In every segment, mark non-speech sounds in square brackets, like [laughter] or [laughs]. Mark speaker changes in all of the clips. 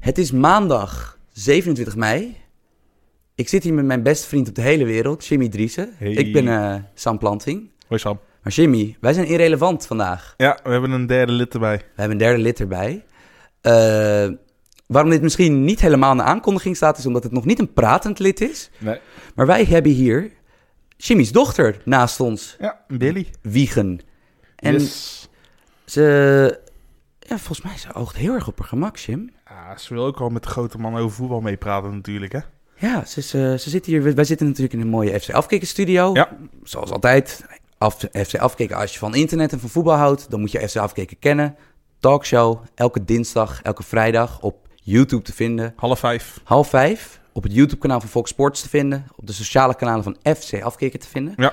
Speaker 1: Het is maandag 27 mei. Ik zit hier met mijn beste vriend op de hele wereld, Jimmy Driessen.
Speaker 2: Hey.
Speaker 1: Ik ben eh, Sam Planting.
Speaker 2: Hoi Sam.
Speaker 1: Maar Jimmy, wij zijn irrelevant vandaag.
Speaker 2: Ja, we hebben een derde lid erbij.
Speaker 1: We hebben een derde lid erbij. Eh, waarom dit misschien niet helemaal in de aankondiging staat, is omdat het nog niet een pratend lid is.
Speaker 2: Nee.
Speaker 1: Maar wij hebben hier Jimmy's dochter naast ons
Speaker 2: Ja, Billy.
Speaker 1: wiegen. En
Speaker 2: Yes.
Speaker 1: ze. Ja, volgens mij ze oogt heel erg op haar gemak, Jim.
Speaker 2: Ja, ze wil ook al met de grote man over voetbal meepraten natuurlijk, hè?
Speaker 1: Ja, ze, is, eh, ze zit hier, wij zitten natuurlijk in een mooie FC Afkikken studio.
Speaker 2: Ja.
Speaker 1: Zoals altijd, af, FC Afkikken, als je van internet en van voetbal houdt, dan moet je FC Afkikken kennen. Talkshow, elke dinsdag, elke vrijdag op YouTube te vinden.
Speaker 2: Half vijf.
Speaker 1: Half vijf op het YouTube-kanaal van Fox Sports te vinden. Op de sociale kanalen van FC Afkikken te vinden.
Speaker 2: Ja.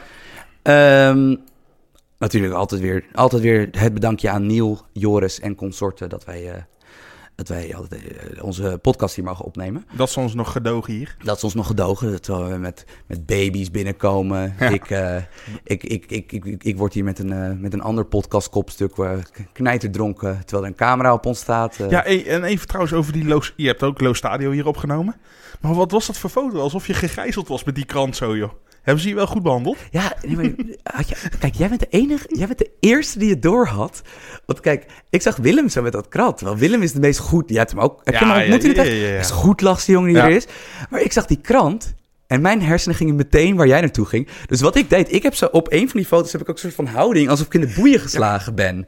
Speaker 1: Ehm, natuurlijk altijd weer, altijd weer het bedankje aan Neil, Joris en consorten dat wij, eh, dat wij altijd, eh, onze podcast hier mogen opnemen.
Speaker 2: Dat is ons nog gedogen hier.
Speaker 1: Dat ze ons nog gedogen, terwijl we met, met baby's binnenkomen.
Speaker 2: Ja.
Speaker 1: Ik, eh, ik, ik, ik, ik, ik, ik word hier met een, eh, met een ander podcastkopstuk eh, k- knijterdronken, terwijl er een camera op ons staat. eh.
Speaker 2: Ja, hey, en even trouwens over die Loos... Je hebt ook Loos Stadio hier opgenomen. Maar wat was dat voor foto? Alsof je gegijzeld was met die krant zo, joh. Hebben ze je wel goed behandeld?
Speaker 1: Ja, nee, maar [laughs] had je- kijk, jij bent de enige, jij bent de eerste die het door had. Want kijk, ik zag Willem zo met dat krat. Wel, Willem is de meest goed. Je hebt hem ook. Heb je
Speaker 2: Ja,
Speaker 1: hem ontmoet
Speaker 2: ja,
Speaker 1: in het
Speaker 2: ja,
Speaker 1: echt?
Speaker 2: ja, ja.
Speaker 1: Hij is de goedlachste jongen die
Speaker 2: Ja.
Speaker 1: er is. Maar ik zag die krant en mijn hersenen gingen meteen waar jij naartoe ging. Dus wat ik deed, ik heb zo op een van die foto's heb ik ook een soort van houding alsof ik in de boeien geslagen ben.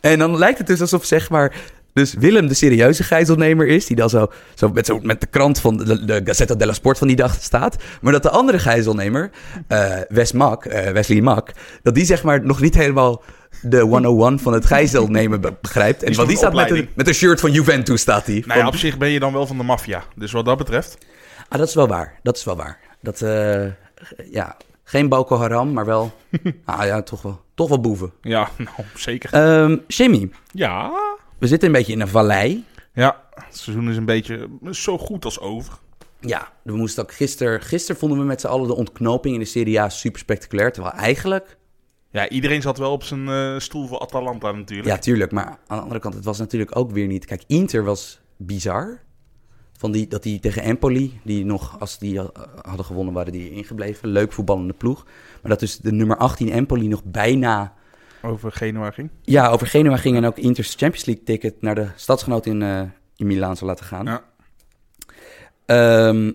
Speaker 1: En dan lijkt het dus alsof zeg maar. Dus Willem de serieuze gijzelnemer is, die dan zo, zo, met, zo met de krant van de, de Gazzetta della Sport van die dag staat. Maar dat de andere gijzelnemer, eh, Wes Mak, eh, Wesley Mak, dat die zeg maar nog niet helemaal de 101 van het gijzelnemen be- begrijpt. En
Speaker 2: is
Speaker 1: want die
Speaker 2: nog
Speaker 1: staat
Speaker 2: een
Speaker 1: met een,
Speaker 2: opleiding.
Speaker 1: met een shirt van Juventus staat hij.
Speaker 2: Nou ja, op zich ben je dan wel van de maffia. Dus wat dat betreft...
Speaker 1: Ah, dat is wel waar. Dat is wel waar. Dat, eh, ja, geen Boko Haram, maar wel, ah ja, toch wel, toch wel boeven.
Speaker 2: Ja, [laughs] nou, zeker.
Speaker 1: Ehm Jimmy,
Speaker 2: Ja.
Speaker 1: we zitten een beetje in een vallei.
Speaker 2: Ja, het seizoen is een beetje zo goed als over.
Speaker 1: Ja, we moesten ook gisteren, gisteren vonden we met z'n allen de ontknoping in de Serie A super spectaculair. Terwijl eigenlijk,
Speaker 2: Ja, iedereen zat wel op zijn eh, stoel voor Atalanta natuurlijk.
Speaker 1: ja tuurlijk, maar aan de andere kant, het was natuurlijk ook weer niet. Kijk, Inter was bizar. Van die, dat die tegen Empoli, die nog, als die eh, hadden gewonnen, waren die ingebleven. Leuk voetballende ploeg. Maar dat dus de nummer 18 Empoli nog bijna
Speaker 2: Over Genua ging.
Speaker 1: Ja, over Genua ging en ook Inter's Champions League ticket naar de stadsgenoot in, eh in Milaan zou laten gaan.
Speaker 2: Ja.
Speaker 1: Ehm,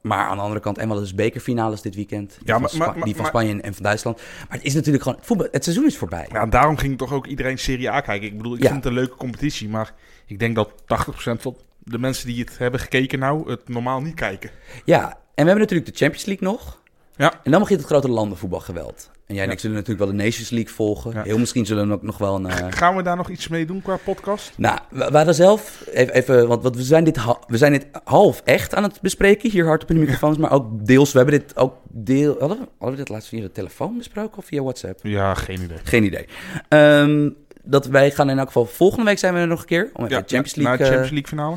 Speaker 1: maar aan de andere kant, en we hadden dus bekerfinales dit weekend. Die,
Speaker 2: Ja,
Speaker 1: van,
Speaker 2: maar-
Speaker 1: Spa-
Speaker 2: maar- maar-
Speaker 1: die van
Speaker 2: maar-
Speaker 1: Spanje en- en van Duitsland. Maar het is natuurlijk gewoon, het, voetbal, het seizoen is voorbij.
Speaker 2: Ja, en daarom ging toch ook iedereen Serie A kijken. Ik bedoel, ik
Speaker 1: Ja.
Speaker 2: vind het een leuke competitie, maar ik denk dat 80% van de mensen die het hebben gekeken nou het normaal niet kijken.
Speaker 1: Ja, en we hebben natuurlijk de Champions League nog.
Speaker 2: Ja.
Speaker 1: En dan begint het grote landenvoetbalgeweld. En jij en
Speaker 2: Ja.
Speaker 1: ik zullen natuurlijk wel de Nations League volgen.
Speaker 2: Ja.
Speaker 1: Heel misschien zullen we ook nog wel een... eh,
Speaker 2: Gaan we daar nog iets mee doen qua podcast?
Speaker 1: Nou, we waren zelf even, even want, want we, zijn dit ha- we zijn dit half echt aan het bespreken hier hard op in de microfoons, maar ook deels, we hebben dit ook deel, hadden, we, hadden we dit laatst via de telefoon besproken of via WhatsApp?
Speaker 2: Ja, geen idee.
Speaker 1: Geen idee. Ehm, dat wij gaan in elk geval volgende week zijn we er nog een keer om even
Speaker 2: Ja,
Speaker 1: de Champions
Speaker 2: na- na
Speaker 1: League,
Speaker 2: de Champions League finale.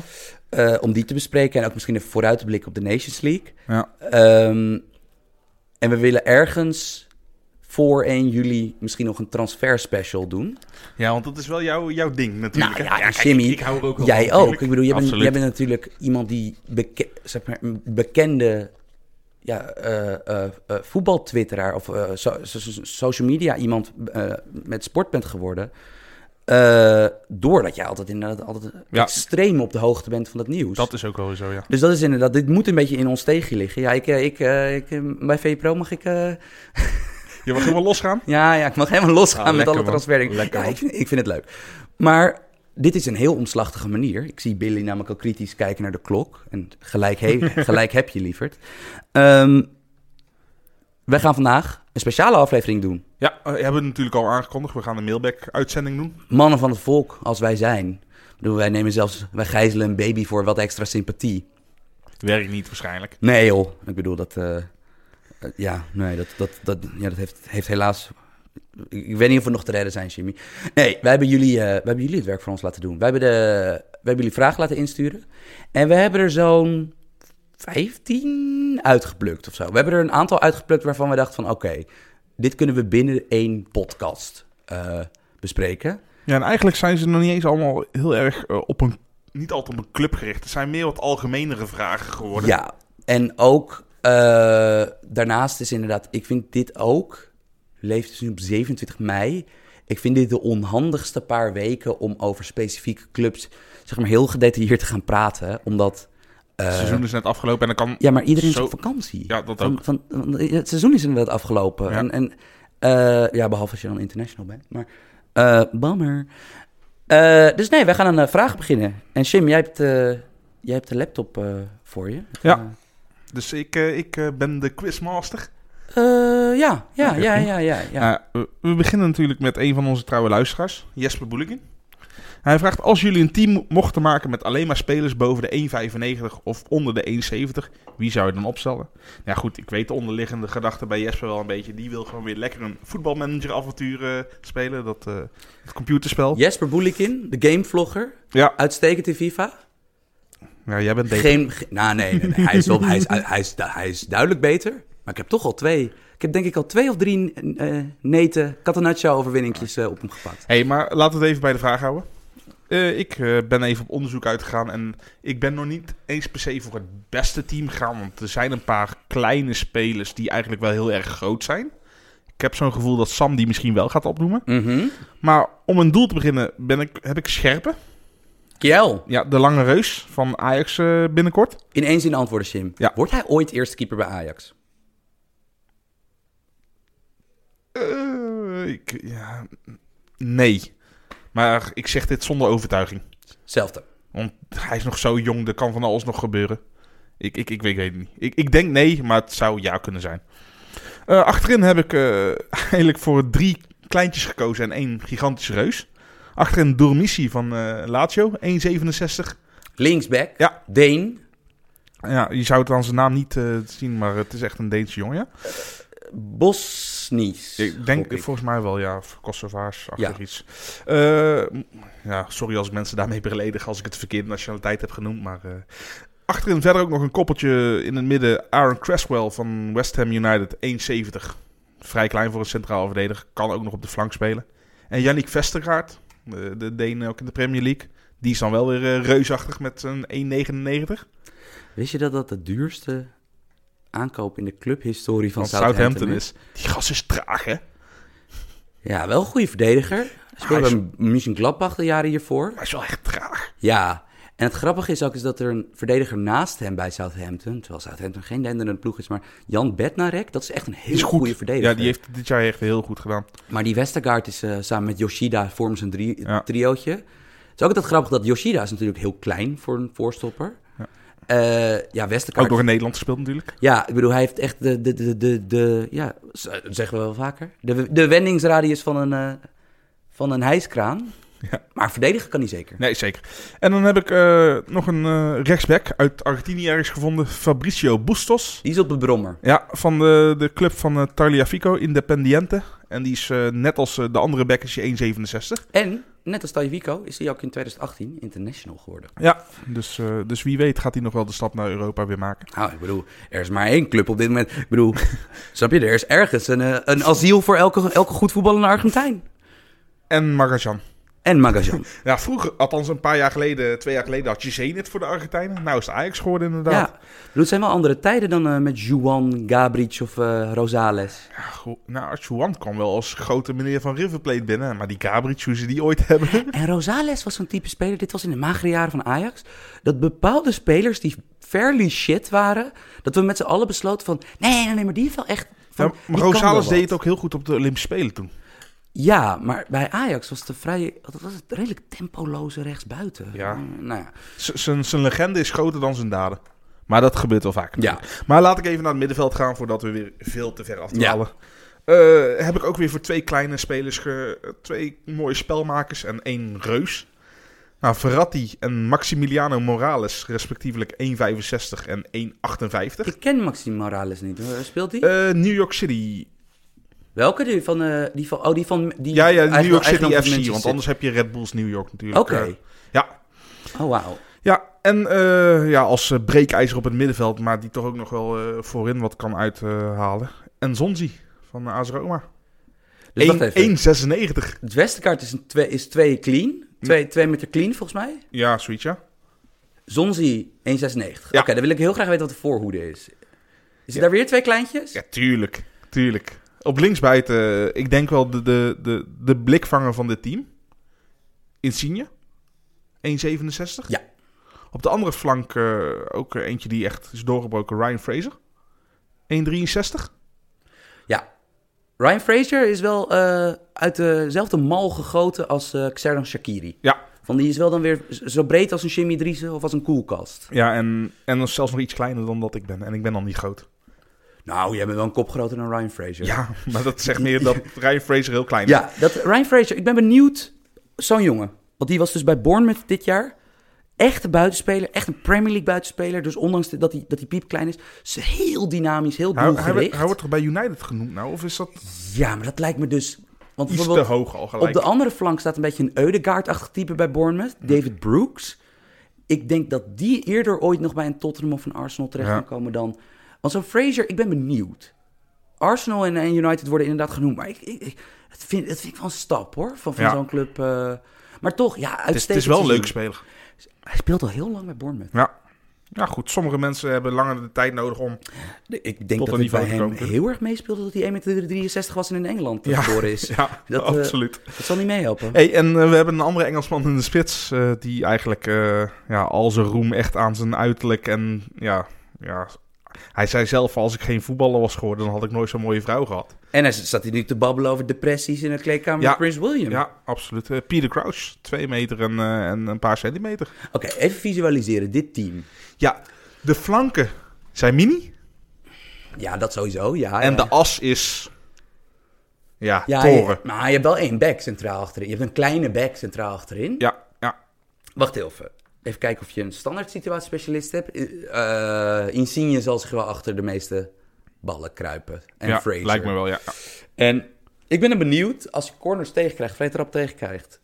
Speaker 1: eh, eh, om die te bespreken en ook misschien even vooruit te blikken op de Nations League.
Speaker 2: Ja.
Speaker 1: Ehm, en we willen ergens voor 1 juli misschien nog een transfer special doen.
Speaker 2: ja, want dat is wel jouw, jouw ding natuurlijk.
Speaker 1: Nou
Speaker 2: hè?
Speaker 1: ja, Jimmy,
Speaker 2: hou er ook wel
Speaker 1: Jij
Speaker 2: van,
Speaker 1: ook.
Speaker 2: natuurlijk.
Speaker 1: Ik bedoel, jij bent,
Speaker 2: Absoluut.
Speaker 1: jij bent natuurlijk iemand die beke- zeg maar, een bekende ja, eh, eh, eh, voetbaltwitteraar of eh, so- so- so- social media iemand eh, met sport bent geworden. Eh, doordat jij altijd inderdaad altijd
Speaker 2: Ja.
Speaker 1: extreem op de hoogte bent van dat nieuws.
Speaker 2: Dat is ook wel zo, ja.
Speaker 1: Dus dat is inderdaad, dit moet een beetje in ons steegje liggen. Ja, ik, eh, ik, eh, ik, eh, bij VPRO mag ik eh,
Speaker 2: Je mag helemaal losgaan.
Speaker 1: ja, ja, ik mag helemaal losgaan
Speaker 2: Ah,
Speaker 1: met
Speaker 2: lekker,
Speaker 1: alle
Speaker 2: man.
Speaker 1: transferdingen.
Speaker 2: Lekker,
Speaker 1: Ja,
Speaker 2: man.
Speaker 1: ik, vind, ik vind het leuk. Maar dit is een heel omslachtige manier. Ik zie Billy namelijk al kritisch kijken naar de klok. En gelijk, he-
Speaker 2: [laughs]
Speaker 1: gelijk heb je, lieverd. Ehm, wij gaan vandaag een speciale aflevering doen.
Speaker 2: Ja, eh, hebben we natuurlijk al aangekondigd. We gaan een mailback-uitzending doen.
Speaker 1: Mannen van het volk, als wij zijn. Ik bedoel, wij nemen zelfs, wij gijzelen een baby voor wat extra sympathie.
Speaker 2: Werkt niet waarschijnlijk.
Speaker 1: Nee joh, ik bedoel dat... eh, eh, ja, nee, dat, dat, dat, ja, dat heeft, heeft helaas... Ik ik weet niet of we nog te redden zijn, Jimmy. Nee, wij hebben jullie, eh, wij hebben jullie het werk voor ons laten doen. Wij hebben, de, wij hebben jullie vragen laten insturen. En we hebben er zo'n 15 uitgeplukt of zo. We hebben er een aantal uitgeplukt waarvan we dachten van... Oké, dit kunnen we binnen één podcast eh, bespreken.
Speaker 2: Ja, en eigenlijk zijn ze nog niet eens allemaal heel erg eh, op een niet altijd op een club gericht. Het zijn meer wat algemenere vragen geworden.
Speaker 1: Ja, en ook eh, daarnaast is inderdaad, ik vind dit ook, leeft dus nu op 27 mei. Ik vind dit de onhandigste paar weken om over specifieke clubs, zeg maar, heel gedetailleerd te gaan praten. Omdat, eh,
Speaker 2: Het seizoen is net afgelopen en dan kan...
Speaker 1: ja, maar iedereen is
Speaker 2: Zo-
Speaker 1: op vakantie.
Speaker 2: Ja, dat
Speaker 1: Van-
Speaker 2: ook.
Speaker 1: Van, van- het seizoen is inderdaad afgelopen.
Speaker 2: Ja.
Speaker 1: En, en eh, ja, behalve als je dan international bent. Maar, eh bammer. Eh, dus nee, wij gaan aan de vraag beginnen. En Jim, jij hebt, eh, jij hebt de laptop eh, voor je.
Speaker 2: Ja.
Speaker 1: Eh,
Speaker 2: Dus ik, eh, ik eh, ben de quizmaster.
Speaker 1: Eh, ja, ja,
Speaker 2: Oké,
Speaker 1: ja,
Speaker 2: prima.
Speaker 1: ja, ja, ja.
Speaker 2: Nou, we, we beginnen natuurlijk met een van onze trouwe luisteraars, Jesper Boelingen. Hij vraagt, als jullie een team mochten maken met alleen maar spelers boven de 1,95 of onder de 1,70, wie zou je dan opstellen? Ja goed, ik weet de onderliggende gedachte bij Jesper wel een beetje. Die wil gewoon weer lekker een voetbalmanager-avontuur eh, spelen, dat, eh, dat computerspel.
Speaker 1: Jesper Boelikin, de gamevlogger.
Speaker 2: Ja.
Speaker 1: Uitstekend in FIFA.
Speaker 2: Ja, jij bent Dave.
Speaker 1: Geen, ge- nou, nee, nee, nee. Hij, is wel, hij, is, hij, is, hij is duidelijk beter. Maar ik heb toch al twee. Ik heb denk ik al twee of drie eh neten Catanaccio-overwinningjes eh, op hem gepakt.
Speaker 2: Hé, hey, maar laten we het even bij de vraag houden. Eh, ik eh, ben even op onderzoek uitgegaan en ik ben nog niet eens per se voor het beste team gegaan. Want er zijn een paar kleine spelers die eigenlijk wel heel erg groot zijn. Ik heb zo'n gevoel dat Sam die misschien wel gaat opnoemen. Maar om een doel te beginnen ben ik, heb ik Scherpen.
Speaker 1: Kjell,
Speaker 2: Ja, de lange reus van Ajax eh, binnenkort.
Speaker 1: in één zin antwoorden, Jim.
Speaker 2: Ja.
Speaker 1: Wordt hij ooit eerste keeper bij Ajax?
Speaker 2: Eh, ik, ja, nee. Maar ik zeg dit zonder overtuiging.
Speaker 1: Zelfde.
Speaker 2: Want hij is nog zo jong, er kan van alles nog gebeuren. Ik, ik, ik, weet- ik weet het niet. Ik, ik denk nee, maar het zou ja kunnen zijn. Eh, achterin heb ik eh, [laughs] eigenlijk voor drie kleintjes gekozen en één gigantische reus. Achterin Dormissi van eh Lazio, 1,67.
Speaker 1: Linksback.
Speaker 2: Ja.
Speaker 1: Deen.
Speaker 2: Ja, je zou het aan zijn naam niet eh, zien, maar het is echt een Deense jongen. ja.
Speaker 1: Bosnisch.
Speaker 2: Ik denk
Speaker 1: gok ik.
Speaker 2: volgens mij wel, ja, of Kosovaars, achter
Speaker 1: Ja.
Speaker 2: iets. Eh, m- ja, sorry als ik mensen daarmee beledig als ik het verkeerde nationaliteit heb genoemd, maar... eh, achterin verder ook nog een koppeltje in het midden. Aaron Cresswell van West Ham United, 1,70. Vrij klein voor een centraal verdediger, kan ook nog op de flank spelen. En Yannick Vestergaard, de, de Deen ook in de Premier League. Die is dan wel weer eh, reusachtig met zijn 1,99.
Speaker 1: Wist je dat dat de duurste aankoop in de clubhistorie van
Speaker 2: Van
Speaker 1: Southampton,
Speaker 2: Southampton
Speaker 1: is?
Speaker 2: is. Die gast is traag, hè?
Speaker 1: Ja, wel een goede verdediger. Speelde
Speaker 2: Hij
Speaker 1: bij München Gladbach de jaren hiervoor.
Speaker 2: Hij is wel echt traag.
Speaker 1: Ja. En het grappige is ook is dat er een verdediger naast hem bij Southampton, terwijl Southampton geen denderende ploeg is, maar Jan Bednarek, dat is echt een
Speaker 2: Die
Speaker 1: heel
Speaker 2: is goed.
Speaker 1: goede verdediger.
Speaker 2: Ja, die heeft dit jaar echt heel goed gedaan.
Speaker 1: Maar die Westergaard is eh, samen met Yoshida vormen ze een drie-
Speaker 2: Ja.
Speaker 1: triootje. Het is ook altijd grappig dat Yoshida is natuurlijk heel klein voor een voorstopper.
Speaker 2: Ja.
Speaker 1: Eh, ja,
Speaker 2: Ook
Speaker 1: Westergaard
Speaker 2: nog in Nederland gespeeld natuurlijk.
Speaker 1: Ja, ik bedoel, hij heeft echt de, de, de, de, de ja, z- dat zeggen we wel vaker, de, de wendingsradius van een, eh, van een hijskraan.
Speaker 2: Ja.
Speaker 1: Maar verdedigen kan hij zeker.
Speaker 2: Nee, zeker. En dan heb ik eh, nog een eh, rechtsback uit Argentinië ergens gevonden. Fabricio Bustos.
Speaker 1: Die is op de brommer.
Speaker 2: Ja, van de, de club van eh, Taliafico, Independiente. En die is eh, net als eh, de andere back is die 1,67.
Speaker 1: En, net als Tajewico, is hij ook in 2018 international geworden.
Speaker 2: Ja, dus, eh, dus wie weet gaat hij nog wel de stap naar Europa weer maken.
Speaker 1: Nou, ik bedoel, er is maar één club op dit moment. Ik bedoel, snap je, er is ergens een, eh, een asiel voor elke, elke goed voetballende Argentijn.
Speaker 2: En Magajan.
Speaker 1: En Magajan.
Speaker 2: Ja, vroeger, althans een paar jaar geleden, twee jaar geleden, had je Zenit voor de Argentijnen. Nou is het Ajax geworden
Speaker 1: ja,
Speaker 2: inderdaad.
Speaker 1: ik bedoel, het zijn wel andere tijden dan eh, met Juan, Gabric of eh, Rosales.
Speaker 2: Ja, goed. nou, Archuan kwam wel als grote meneer van River Plate binnen. Maar die Gabriel, hoe ze die ooit [laughs] hebben.
Speaker 1: En Rosales was zo'n type speler, dit was in de magere jaren van Ajax, dat bepaalde spelers die fairly shit waren, dat we met z'n allen besloten van, nee, nee, nee, maar die heeft wel echt... Van,
Speaker 2: Ja, maar
Speaker 1: die kan wel
Speaker 2: Rosales
Speaker 1: wat.
Speaker 2: deed het ook heel goed op de Olympische Spelen toen.
Speaker 1: Ja, maar bij Ajax was het een vrij, dat was het redelijk tempoloze rechtsbuiten.
Speaker 2: Ja.
Speaker 1: Mm, Nou ja.
Speaker 2: Z- Zijn zijn legende is groter dan zijn daden. Maar dat gebeurt wel vaak.
Speaker 1: Ja.
Speaker 2: Maar laat ik even naar het middenveld gaan voordat we weer veel te ver afdwalen. Eh, heb ik ook weer voor twee kleine spelers, ge- twee mooie spelmakers en één reus. Nou, Verratti en Maximiliano Morales, respectievelijk 1,65 en 1,58.
Speaker 1: Ik ken Maxime Morales niet. Waar Speelt hij?
Speaker 2: Eh, New York City.
Speaker 1: Welke? Die van, eh, die van, oh, die van... Die
Speaker 2: Ja, ja,
Speaker 1: eigen-
Speaker 2: New York
Speaker 1: eigendom van
Speaker 2: City FC.
Speaker 1: Manchester
Speaker 2: Want
Speaker 1: City.
Speaker 2: anders heb je Red Bulls New York natuurlijk.
Speaker 1: Oké.
Speaker 2: Eh, ja,
Speaker 1: Oh, wauw.
Speaker 2: Ja, en eh, ja, als eh, breekijzer op het middenveld, maar die toch ook nog wel eh, voorin wat kan uithalen. en Zonzi van eh, AS Roma.
Speaker 1: Dus wacht
Speaker 2: Eén-
Speaker 1: even.
Speaker 2: 1,96. Hm.
Speaker 1: Het Westerkaart is, een twee, is twee clean. Twee, twee met de clean, volgens mij.
Speaker 2: Ja, zoiets ja.
Speaker 1: Zonzi 1,96. Oké,
Speaker 2: Ja.
Speaker 1: dan wil ik heel graag weten wat de voorhoede is. Is het daar weer twee kleintjes?
Speaker 2: Ja, tuurlijk. Tuurlijk. Op linksbuiten, ik denk wel de, de, de, de blikvanger van dit team. Insigne. 1,67.
Speaker 1: Ja.
Speaker 2: Op de andere flank eh, ook eentje die echt is doorgebroken. Ryan Fraser. 1,63.
Speaker 1: Ja. Ryan Fraser is wel eh, uit dezelfde mal gegoten als eh Xherdan Shakiri.
Speaker 2: Ja.
Speaker 1: Van die is wel dan weer z- zo breed als een Jimmy Driessen of als een koelkast.
Speaker 2: Ja, en, en dan zelfs nog iets kleiner dan dat ik ben. En ik ben dan niet groot.
Speaker 1: Nou, jij bent wel een kop groter dan Ryan Fraser.
Speaker 2: Ja, maar dat zegt meer [laughs] dat Ryan Fraser heel klein is.
Speaker 1: Ja, dat Ryan Fraser. Ik ben benieuwd. Zo'n jongen. Want die was dus bij Bournemouth dit jaar. Echt een buitenspeler. Echt een Premier League buitenspeler. Dus ondanks dat hij, dat hij piepklein is. is heel dynamisch, heel
Speaker 2: Hij, hij,
Speaker 1: doelgericht.
Speaker 2: wordt- hij wordt toch bij United genoemd nou? Of is dat
Speaker 1: Ja, maar dat lijkt me dus... Want
Speaker 2: iets te
Speaker 1: bijvoorbeeld
Speaker 2: hoog al gelijk?
Speaker 1: op de andere flank staat een beetje een Eudegaard-achtig type bij Bournemouth. David Brooks. Ik denk dat die eerder ooit nog bij een Tottenham of een Arsenal terecht
Speaker 2: Ja.
Speaker 1: kan komen dan... Want zo'n Fraser, ik ben benieuwd. Arsenal en, en United worden inderdaad genoemd. Maar ik, ik, ik- het, vind, het vind ik wel een stap, hoor. Van, van
Speaker 2: Ja.
Speaker 1: zo'n club... eh, maar toch, ja, uitstekend.
Speaker 2: het, is, het is wel een leuk
Speaker 1: seizoen.
Speaker 2: speler.
Speaker 1: Hij speelt al heel lang bij Bournemouth.
Speaker 2: Ja. ja, goed. Sommige mensen hebben langer de tijd nodig om...
Speaker 1: Ik denk
Speaker 2: Tot
Speaker 1: dat
Speaker 2: een
Speaker 1: het bij
Speaker 2: niveau te
Speaker 1: hem
Speaker 2: komen.
Speaker 1: heel erg meespeelde... dat hij 1,63 was en in Engeland
Speaker 2: Ja.
Speaker 1: geboren is.
Speaker 2: [laughs] Ja,
Speaker 1: Dat, eh,
Speaker 2: absoluut.
Speaker 1: Dat zal niet [laughs] meehelpen.
Speaker 2: Hey, en eh, we hebben een andere Engelsman in de spits eh, die eigenlijk eh, ja, al zijn roem echt aan zijn uiterlijk en ja, ja, hij zei zelf als ik geen voetballer was geworden dan had ik nooit zo'n mooie vrouw gehad.
Speaker 1: En hij zat hier nu te babbelen over depressies in een kleedkamer
Speaker 2: Ja.
Speaker 1: met Prince William.
Speaker 2: Ja, absoluut. Eh, Peter Crouch, twee meter en, eh, en een paar centimeter.
Speaker 1: Oké, even visualiseren. Dit team.
Speaker 2: Ja, de flanken zijn mini
Speaker 1: Ja, dat sowieso. Ja,
Speaker 2: en
Speaker 1: ja.
Speaker 2: de as is ja,
Speaker 1: ja,
Speaker 2: toren.
Speaker 1: je- maar je hebt wel één back centraal achterin. Je hebt een kleine back centraal achterin.
Speaker 2: Ja, ja,
Speaker 1: Wacht even. Even kijken of je een standaard situatiespecialist hebt. Eh, eh, Insigne zal zich wel achter de meeste ballen kruipen. En
Speaker 2: ja
Speaker 1: Fraser.
Speaker 2: lijkt me wel, ja. [laughs] ja.
Speaker 1: En ik ben er benieuwd, als je corners tegenkrijgt, vrij trap tegenkrijgt.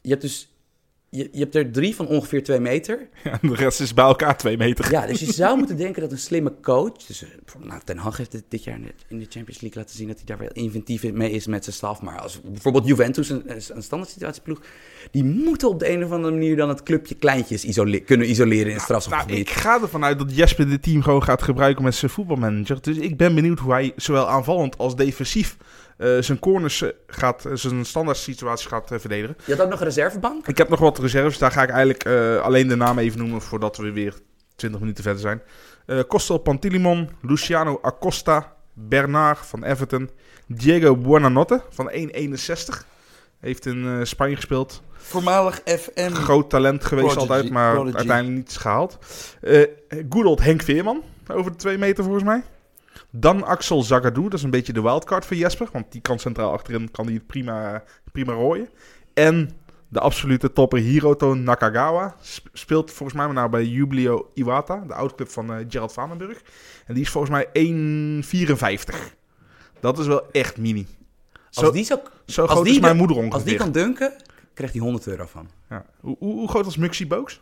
Speaker 1: Je hebt dus... Je, je hebt er drie van ongeveer twee meter.
Speaker 2: Ja, de rest is bij elkaar twee meter.
Speaker 1: Ja, dus je zou moeten denken dat een slimme coach... Dus, eh, nou, Ten Hag heeft dit, dit jaar in de, in de Champions League laten zien... dat hij daar wel inventief in- mee is met zijn staf. Maar als bijvoorbeeld Juventus, een, een standaard situatieploeg... die moeten op de een of andere manier dan het clubje kleintjes isole- kunnen isoleren in het
Speaker 2: Nou,
Speaker 1: strafschopgebied.
Speaker 2: ik ga ervan uit dat Jesper dit team gewoon gaat gebruiken met zijn voetbalmanager. Dus ik ben benieuwd hoe hij zowel aanvallend als defensief eh, zijn corners eh, gaat, eh, zijn standaard situaties gaat eh, verdedigen.
Speaker 1: Je had ook nog een reservebank?
Speaker 2: Ik heb nog wat reserves. Daar ga ik eigenlijk eh, alleen de naam even noemen voordat we weer 20 minuten verder zijn. Eh Kostel Pantilimon, Luciano Acosta, Bernard van Everton, Diego Buonanotte van 1,61. Heeft in eh, Spanje gespeeld.
Speaker 1: Voormalig FM.
Speaker 2: Groot talent geweest
Speaker 1: Prodigy,
Speaker 2: altijd, maar
Speaker 1: prodigy.
Speaker 2: uiteindelijk niets gehaald. Eh good old Henk Veerman, over de twee meter volgens mij. Dan Axel Zagadou, dat is een beetje de wildcard voor Jesper. Want die kan centraal achterin kan die het prima, prima rooien. En de absolute topper Hiroto Nakagawa. sp- Speelt volgens mij maar nou bij Jubileo Iwata, de oudclub van eh, Gerald Vanenburg. En die is volgens mij 1,54. Dat is wel echt mini. Zo,
Speaker 1: Als die, zo,
Speaker 2: zo
Speaker 1: als
Speaker 2: groot
Speaker 1: die
Speaker 2: is mijn
Speaker 1: de-
Speaker 2: moeder ongeveer.
Speaker 1: als die kan dunken, krijgt hij 100 euro van.
Speaker 2: ja. hoe, hoe, hoe groot is Muxi Boaks?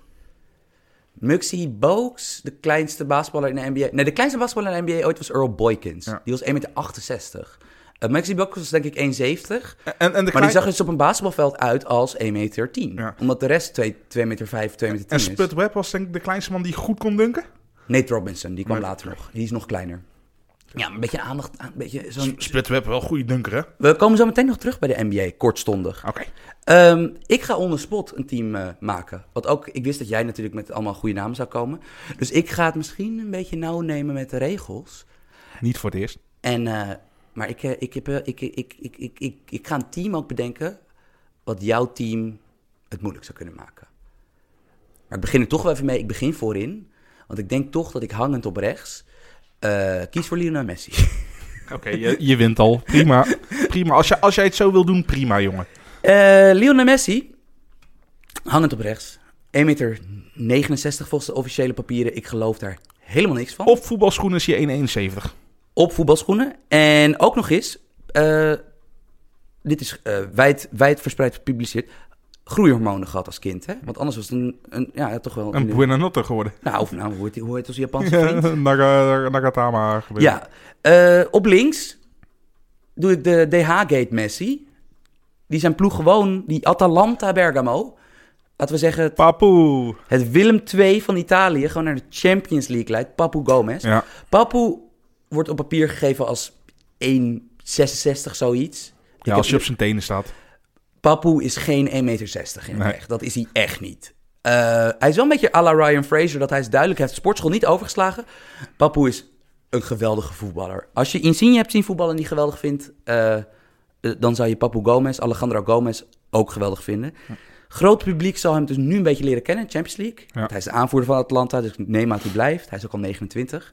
Speaker 1: Muxi Boaks, de kleinste basketballer in de NBA. Nee, de kleinste basketballer in de NBA ooit was Earl Boykins.
Speaker 2: Ja.
Speaker 1: Die was 1,68 meter. Eh, Muxi Boaks was denk ik 1,70.
Speaker 2: En, en
Speaker 1: Maar
Speaker 2: de
Speaker 1: die
Speaker 2: klein-
Speaker 1: zag dus op een basketbalveld uit als 1,10 meter.
Speaker 2: Ja.
Speaker 1: Omdat de rest 2 meter 5, 2 meter 10
Speaker 2: En
Speaker 1: is.
Speaker 2: Spud Webb was denk ik de kleinste man die goed kon dunken.
Speaker 1: Nate Robinson, die kwam
Speaker 2: Maar-
Speaker 1: later nog. Die is nog kleiner. Ja, een beetje aandacht aan. Een beetje zo'n...
Speaker 2: Spud Webb wel goede dunker, hè? Oké.
Speaker 1: We komen zo meteen nog terug bij de NBA, kortstondig. Ehm, ik ga on the spot een team eh, maken. Want ook, ik wist dat jij natuurlijk met allemaal goede namen zou komen. Dus ik ga het misschien een beetje nauw nemen met de regels.
Speaker 2: Niet voor het eerst.
Speaker 1: En, eh, maar ik, eh, ik, heb, eh, ik, ik, ik, ik, ik, ik, ik ga een team ook bedenken wat jouw team het moeilijk zou kunnen maken. Maar ik begin er toch wel even mee. Ik begin voorin. Want ik denk toch dat ik hangend op rechts eh, kies voor Lionel Messi. [laughs]
Speaker 2: Oké, [laughs] je, je wint al. Prima. prima. Als, je, als jij het zo wil doen, prima, jongen.
Speaker 1: Eh Lionel Messi, hangend op rechts. 1,69 meter volgens de officiële papieren. Ik geloof daar helemaal niks van. Op,
Speaker 2: Op voetbalschoenen is je 1,71.
Speaker 1: voetbalschoenen. En ook nog eens, eh, dit is eh, wijd, wijd verspreid gepubliceerd, groeihormonen gehad als kind. Hè? Want anders was het een, een ja, toch wel...
Speaker 2: Een
Speaker 1: een-
Speaker 2: Buenanotte geworden.
Speaker 1: nou, of nou, hoe heet, die- hoe heet onze Japanse vriend?
Speaker 2: Ja, [laughs] Naga- Nagatama gebeurd.
Speaker 1: Ja, eh, op links doe ik de DH-gate Messi. Die zijn ploeg gewoon, die Atalanta Bergamo, laten we zeggen, het,
Speaker 2: Papoe.
Speaker 1: het Willem II van Italië gewoon naar de Champions League leidt. Papu Gomez.
Speaker 2: Ja.
Speaker 1: Papu wordt op papier gegeven als 1,66 zoiets. Ik
Speaker 2: ja,
Speaker 1: heb
Speaker 2: als je op zijn tenen staat.
Speaker 1: Papu is geen 1,60 meter in het
Speaker 2: Nee.
Speaker 1: echt. Dat is hij echt niet. Eh, hij is wel een beetje à la Ryan Fraser. Dat hij is duidelijk. Hij heeft sportschool niet overgeslagen. Papu is een geweldige voetballer. Als je Insigne hebt zien voetballen en die geweldig vindt... eh, eh, dan zou je Papu Gomez, Alejandro Gomez ook geweldig vinden. Groot publiek zal hem dus nu een beetje leren kennen. Champions League.
Speaker 2: Ja.
Speaker 1: Want Hij is de aanvoerder van Atlanta. Dus ik neem aan dat hij blijft. Hij is ook al 29.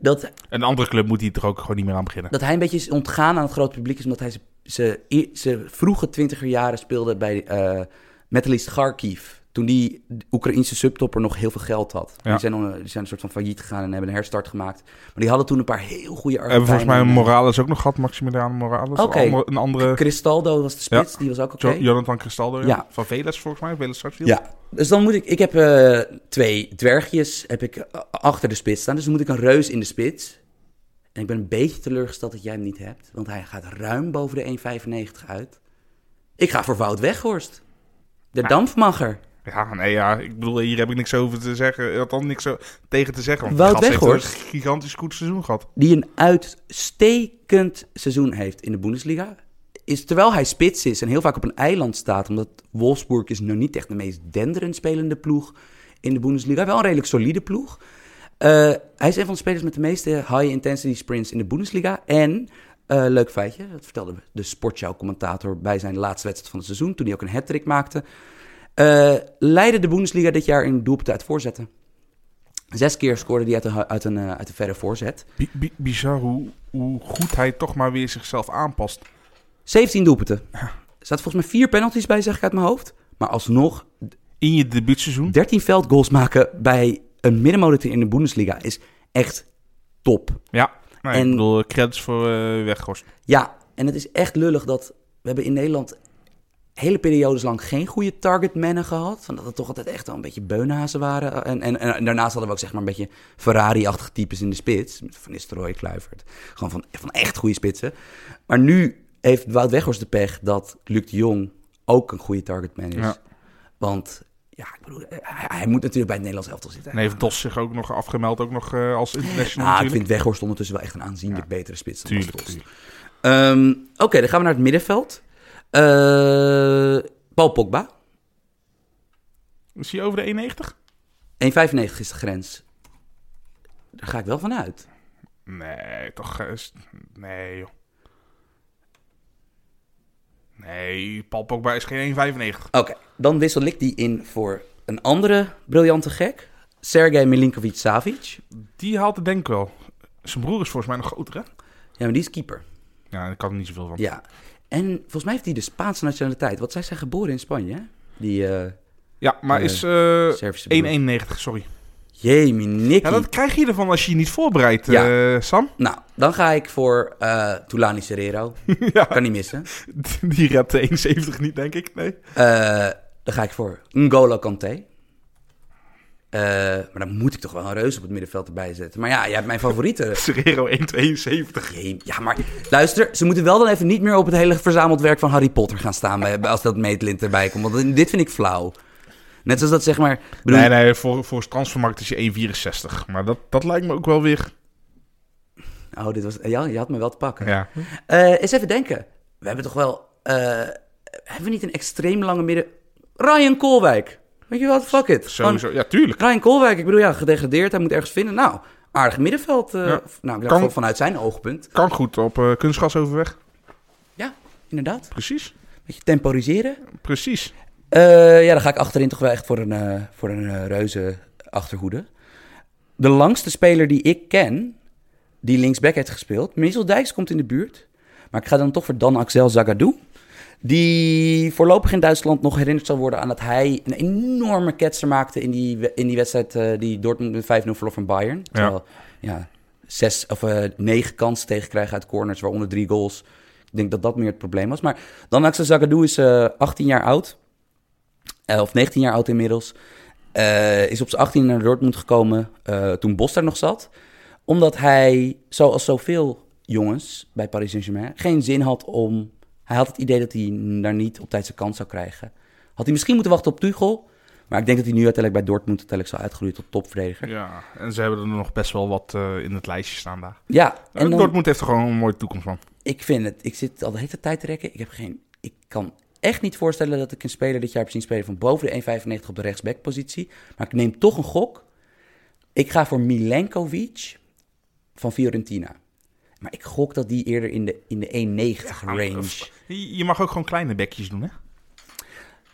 Speaker 1: Dat,
Speaker 2: Een andere club moet hij er ook gewoon niet meer aan beginnen.
Speaker 1: dat hij een beetje is ontgaan aan het grote publiek is omdat hij zijn vroege twintiger jaren speelde bij eh Metalist Kharkiv. Toen die Oekraïnse subtopper nog heel veel geld had.
Speaker 2: Ja.
Speaker 1: Die, zijn, dan, eh, die zijn een soort van failliet gegaan en hebben een herstart gemaakt. Maar die hadden toen een paar heel goede
Speaker 2: Hebben
Speaker 1: Argentijnen.
Speaker 2: we volgens mij Morales ook nog gehad, Maximiliano Morales.
Speaker 1: Oké.
Speaker 2: Een andere- Een andere,
Speaker 1: Cristaldo was de spits, die was ook oké.
Speaker 2: Jo- Jonathan Cristaldo, ja.
Speaker 1: Ja.
Speaker 2: Van Veles volgens mij, Veles Sarsfield.
Speaker 1: Ja, dus dan moet ik... Ik heb eh, twee dwergjes heb ik eh, achter de spits staan. Dus dan moet ik een reus in de spits. En ik ben een beetje teleurgesteld dat jij hem niet hebt. Want hij gaat ruim boven de 1,95 uit. Ik ga voor Wout Weghorst. De dampmacher.
Speaker 2: Ja, nee, ja. Ik bedoel, hier heb ik niks over te zeggen. Althans, niks zo- tegen te zeggen. Want
Speaker 1: Wout
Speaker 2: die gast
Speaker 1: Weghorst.
Speaker 2: heeft een gigantisch goed seizoen gehad.
Speaker 1: Die een uitstekend seizoen heeft in de Bundesliga. Is, terwijl hij spits is en heel vaak op een eiland staat. Omdat Wolfsburg is nou niet echt de meest denderend spelende ploeg in de Bundesliga. Wel een redelijk solide ploeg. Eh, hij is een van de spelers met de meeste high-intensity sprints in de Bundesliga. En, eh, leuk feitje, dat vertelde de Sportschau-commentator bij zijn laatste wedstrijd van het seizoen, toen hij ook een hat-trick maakte, eh, leidde de Bundesliga dit jaar in doelpunten uit voorzetten. Zes keer scoorde hij uit een, hu- uit een, eh, uit een verre voorzet.
Speaker 2: Bi- bi- bizar hoe, hoe goed hij toch maar weer zichzelf aanpast.
Speaker 1: 17 doelpunten. Er staat volgens mij vier penalties bij, zeg ik uit mijn hoofd. Maar alsnog,
Speaker 2: In je debuutseizoen.
Speaker 1: 13 veldgoals maken bij een middenmotor in de Bundesliga is echt top.
Speaker 2: Ja. Nee,
Speaker 1: En-
Speaker 2: Ik bedoel, credits voor eh Weghorst.
Speaker 1: Ja, en het is echt lullig dat we hebben in Nederland hele periodes lang geen goede targetmannen gehad. Van dat het toch altijd echt wel een beetje beunhazen waren. Eh, En, en, en daarnaast hadden we ook zeg maar een beetje Ferrari-achtige types in de spits. Met Van Nistelrooy, Kluivert. Gewoon van, van echt goede spitsen. Maar nu heeft Wout Weghorst de pech dat Luc de Jong ook een goede targetman is.
Speaker 2: Ja.
Speaker 1: Want ja, ik bedoel, eh, hij, hij moet natuurlijk bij het Nederlands elftal zitten.
Speaker 2: En heeft Dos zich ook nog afgemeld, ook nog eh, als international
Speaker 1: Ah, ik
Speaker 2: natuurlijk.
Speaker 1: vind Weghorst ondertussen wel echt een aanzienlijk betere spits dan
Speaker 2: Tuurlijk,
Speaker 1: Bastos.
Speaker 2: tuurlijk.
Speaker 1: Ehm, Oké, dan gaan we naar het middenveld. Eh, Paul Pogba.
Speaker 2: Is hij over de 1,90?
Speaker 1: 1,95 is de grens. Daar ga ik wel van uit.
Speaker 2: Nee, toch. eh, is- Nee, joh. Nee, Paul Pogba is geen 1,95.
Speaker 1: Oké, dan wissel ik die in voor een andere briljante gek. Sergej Milinkovic-Savic.
Speaker 2: Die haalt het denk ik wel. Zijn broer is volgens mij nog groter, hè?
Speaker 1: Ja, maar die is keeper.
Speaker 2: Ja, ik kan er niet zoveel van.
Speaker 1: Ja. En volgens mij heeft hij de Spaanse nationaliteit. Want zij zijn geboren in Spanje, hè? Die eh
Speaker 2: Ja, maar
Speaker 1: Nee.
Speaker 2: is eh,
Speaker 1: Servische broer.
Speaker 2: 1,91, sorry.
Speaker 1: Jemie, Nicky.
Speaker 2: Ja, dat krijg je ervan als je je niet voorbereidt,
Speaker 1: Ja.
Speaker 2: eh, Sam. [laughs]
Speaker 1: Nou, dan ga ik voor eh Tulani Serrero.
Speaker 2: ja,
Speaker 1: Kan niet missen.
Speaker 2: die redt de 1,70 niet, denk ik. Nee.
Speaker 1: Eh, dan ga ik voor N'Golo Kanté. Eh, maar dan moet ik toch wel een reus op het middenveld erbij zetten. Maar ja, jij hebt mijn
Speaker 2: [laughs]
Speaker 1: favoriete.
Speaker 2: Serrero 1,72.
Speaker 1: Jee, Ja, maar luister, ze moeten wel dan even niet meer op het hele verzameld werk van Harry Potter gaan staan. bij- bij- Als dat meetlint erbij komt. Want dit vind ik flauw. Net zoals dat zeg maar. Bedoel,
Speaker 2: Nee, nee, voor, voor transfermarkt is je 1,64. Maar dat, dat lijkt me ook wel weer...
Speaker 1: Oh, dit was. Ja, je had me wel te pakken.
Speaker 2: Ja.
Speaker 1: Eh, eens even denken. We hebben toch wel. eh, hebben we niet een extreem lange midden. Ryan Koolwijk. Weet je wat? Fuck it. Gewoon-
Speaker 2: Sowieso. Ja, tuurlijk.
Speaker 1: Ryan Koolwijk, ik bedoel, ja, gedegradeerd. Hij moet ergens vinden. Nou, aardig middenveld. eh,
Speaker 2: Ja.
Speaker 1: of- Nou, ik
Speaker 2: Kan-
Speaker 1: dacht wel vanuit zijn oogpunt.
Speaker 2: Kan goed op eh kunstgas overweg.
Speaker 1: Ja, inderdaad.
Speaker 2: Precies.
Speaker 1: Beetje temporiseren.
Speaker 2: Precies.
Speaker 1: Eh, ja, dan ga ik achterin toch wel echt voor een, eh, voor een eh, reuze achterhoede. De langste speler die ik ken, die linksback heeft gespeeld. Meesel Dijks komt in de buurt. Maar ik ga dan toch voor Dan Axel Zagadou. Die voorlopig in Duitsland nog herinnerd zal worden aan dat hij een enorme ketser maakte in die, we- in die wedstrijd eh, die Dortmund met 5-0 verloor van Bayern. Terwijl, ja, zes of eh, negen kansen tegenkrijgen uit corners, waaronder drie goals. Ik denk dat dat meer het probleem was. Maar Dan Axel Zagadou is eh, 18 jaar oud. Eh, of 19 jaar oud inmiddels. Eh, is op zijn 18 naar Dortmund gekomen eh, toen Bos daar nog zat. Omdat hij, zoals zoveel jongens bij Paris Saint-Germain, geen zin had om... Hij had het idee dat hij daar niet op tijd zijn kans zou krijgen. Had hij misschien moeten wachten op Tuchel. Maar ik denk dat hij nu uiteindelijk bij Dortmund uiteindelijk zal uitgroeien tot topverdediger.
Speaker 2: Ja, en ze hebben er nog best wel wat eh, in het lijstje staan daar.
Speaker 1: Ja,
Speaker 2: En
Speaker 1: en dan,
Speaker 2: Dortmund heeft er gewoon een mooie toekomst van.
Speaker 1: ik vind het. Ik zit al de hele tijd te rekken. Ik heb geen. Ik kan echt niet voorstellen dat ik een speler dit jaar heb zien spelen van boven de 1,95 op de rechtsbackpositie. Maar ik neem toch een gok. Ik ga voor Milenkovic van Fiorentina. Maar ik gok dat die eerder in de, in de 1,90 range.
Speaker 2: Je je mag ook gewoon kleine bekjes doen, hè?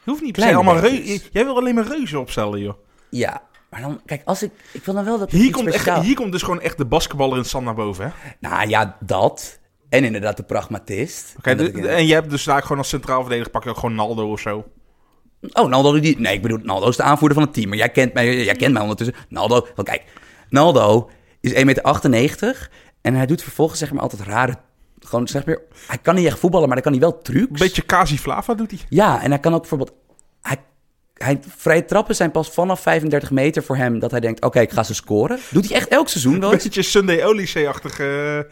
Speaker 2: Je hoeft niet per se
Speaker 1: Kleine
Speaker 2: allemaal
Speaker 1: bekjes.
Speaker 2: reuzen. Jij wil alleen maar reuzen opstellen, joh.
Speaker 1: Ja, maar dan, kijk, als ik, ik wil dan wel dat er
Speaker 2: Hier
Speaker 1: iets
Speaker 2: komt, echt,
Speaker 1: speciaals-
Speaker 2: hier komt dus gewoon echt de basketballer in stand naar boven, hè?
Speaker 1: Nou ja, dat. En inderdaad de pragmatist.
Speaker 2: Oké,
Speaker 1: En dat
Speaker 2: de-
Speaker 1: ik-
Speaker 2: de- en je hebt dus daar gewoon als centraal verdediger pak je ook gewoon Naldo of zo.
Speaker 1: Oh, Naldo, die, nee, ik bedoel, Naldo is de aanvoerder van het team. Maar jij kent mij, jij kent mij ondertussen. Naldo, want kijk, Naldo is 1,98 meter en hij doet vervolgens zeg maar altijd rare, gewoon zeg maar, hij kan niet echt voetballen, maar hij kan hij wel
Speaker 2: Een
Speaker 1: trucs.
Speaker 2: beetje Kasi Flava doet hij.
Speaker 1: Ja, en hij kan ook bijvoorbeeld, hij, hij, vrije trappen zijn pas vanaf 35 meter voor hem dat hij denkt, oké, ik ga ze scoren. Doet hij echt elk seizoen wel
Speaker 2: Een
Speaker 1: eens.
Speaker 2: beetje Sunday Olyse-achtig. eh,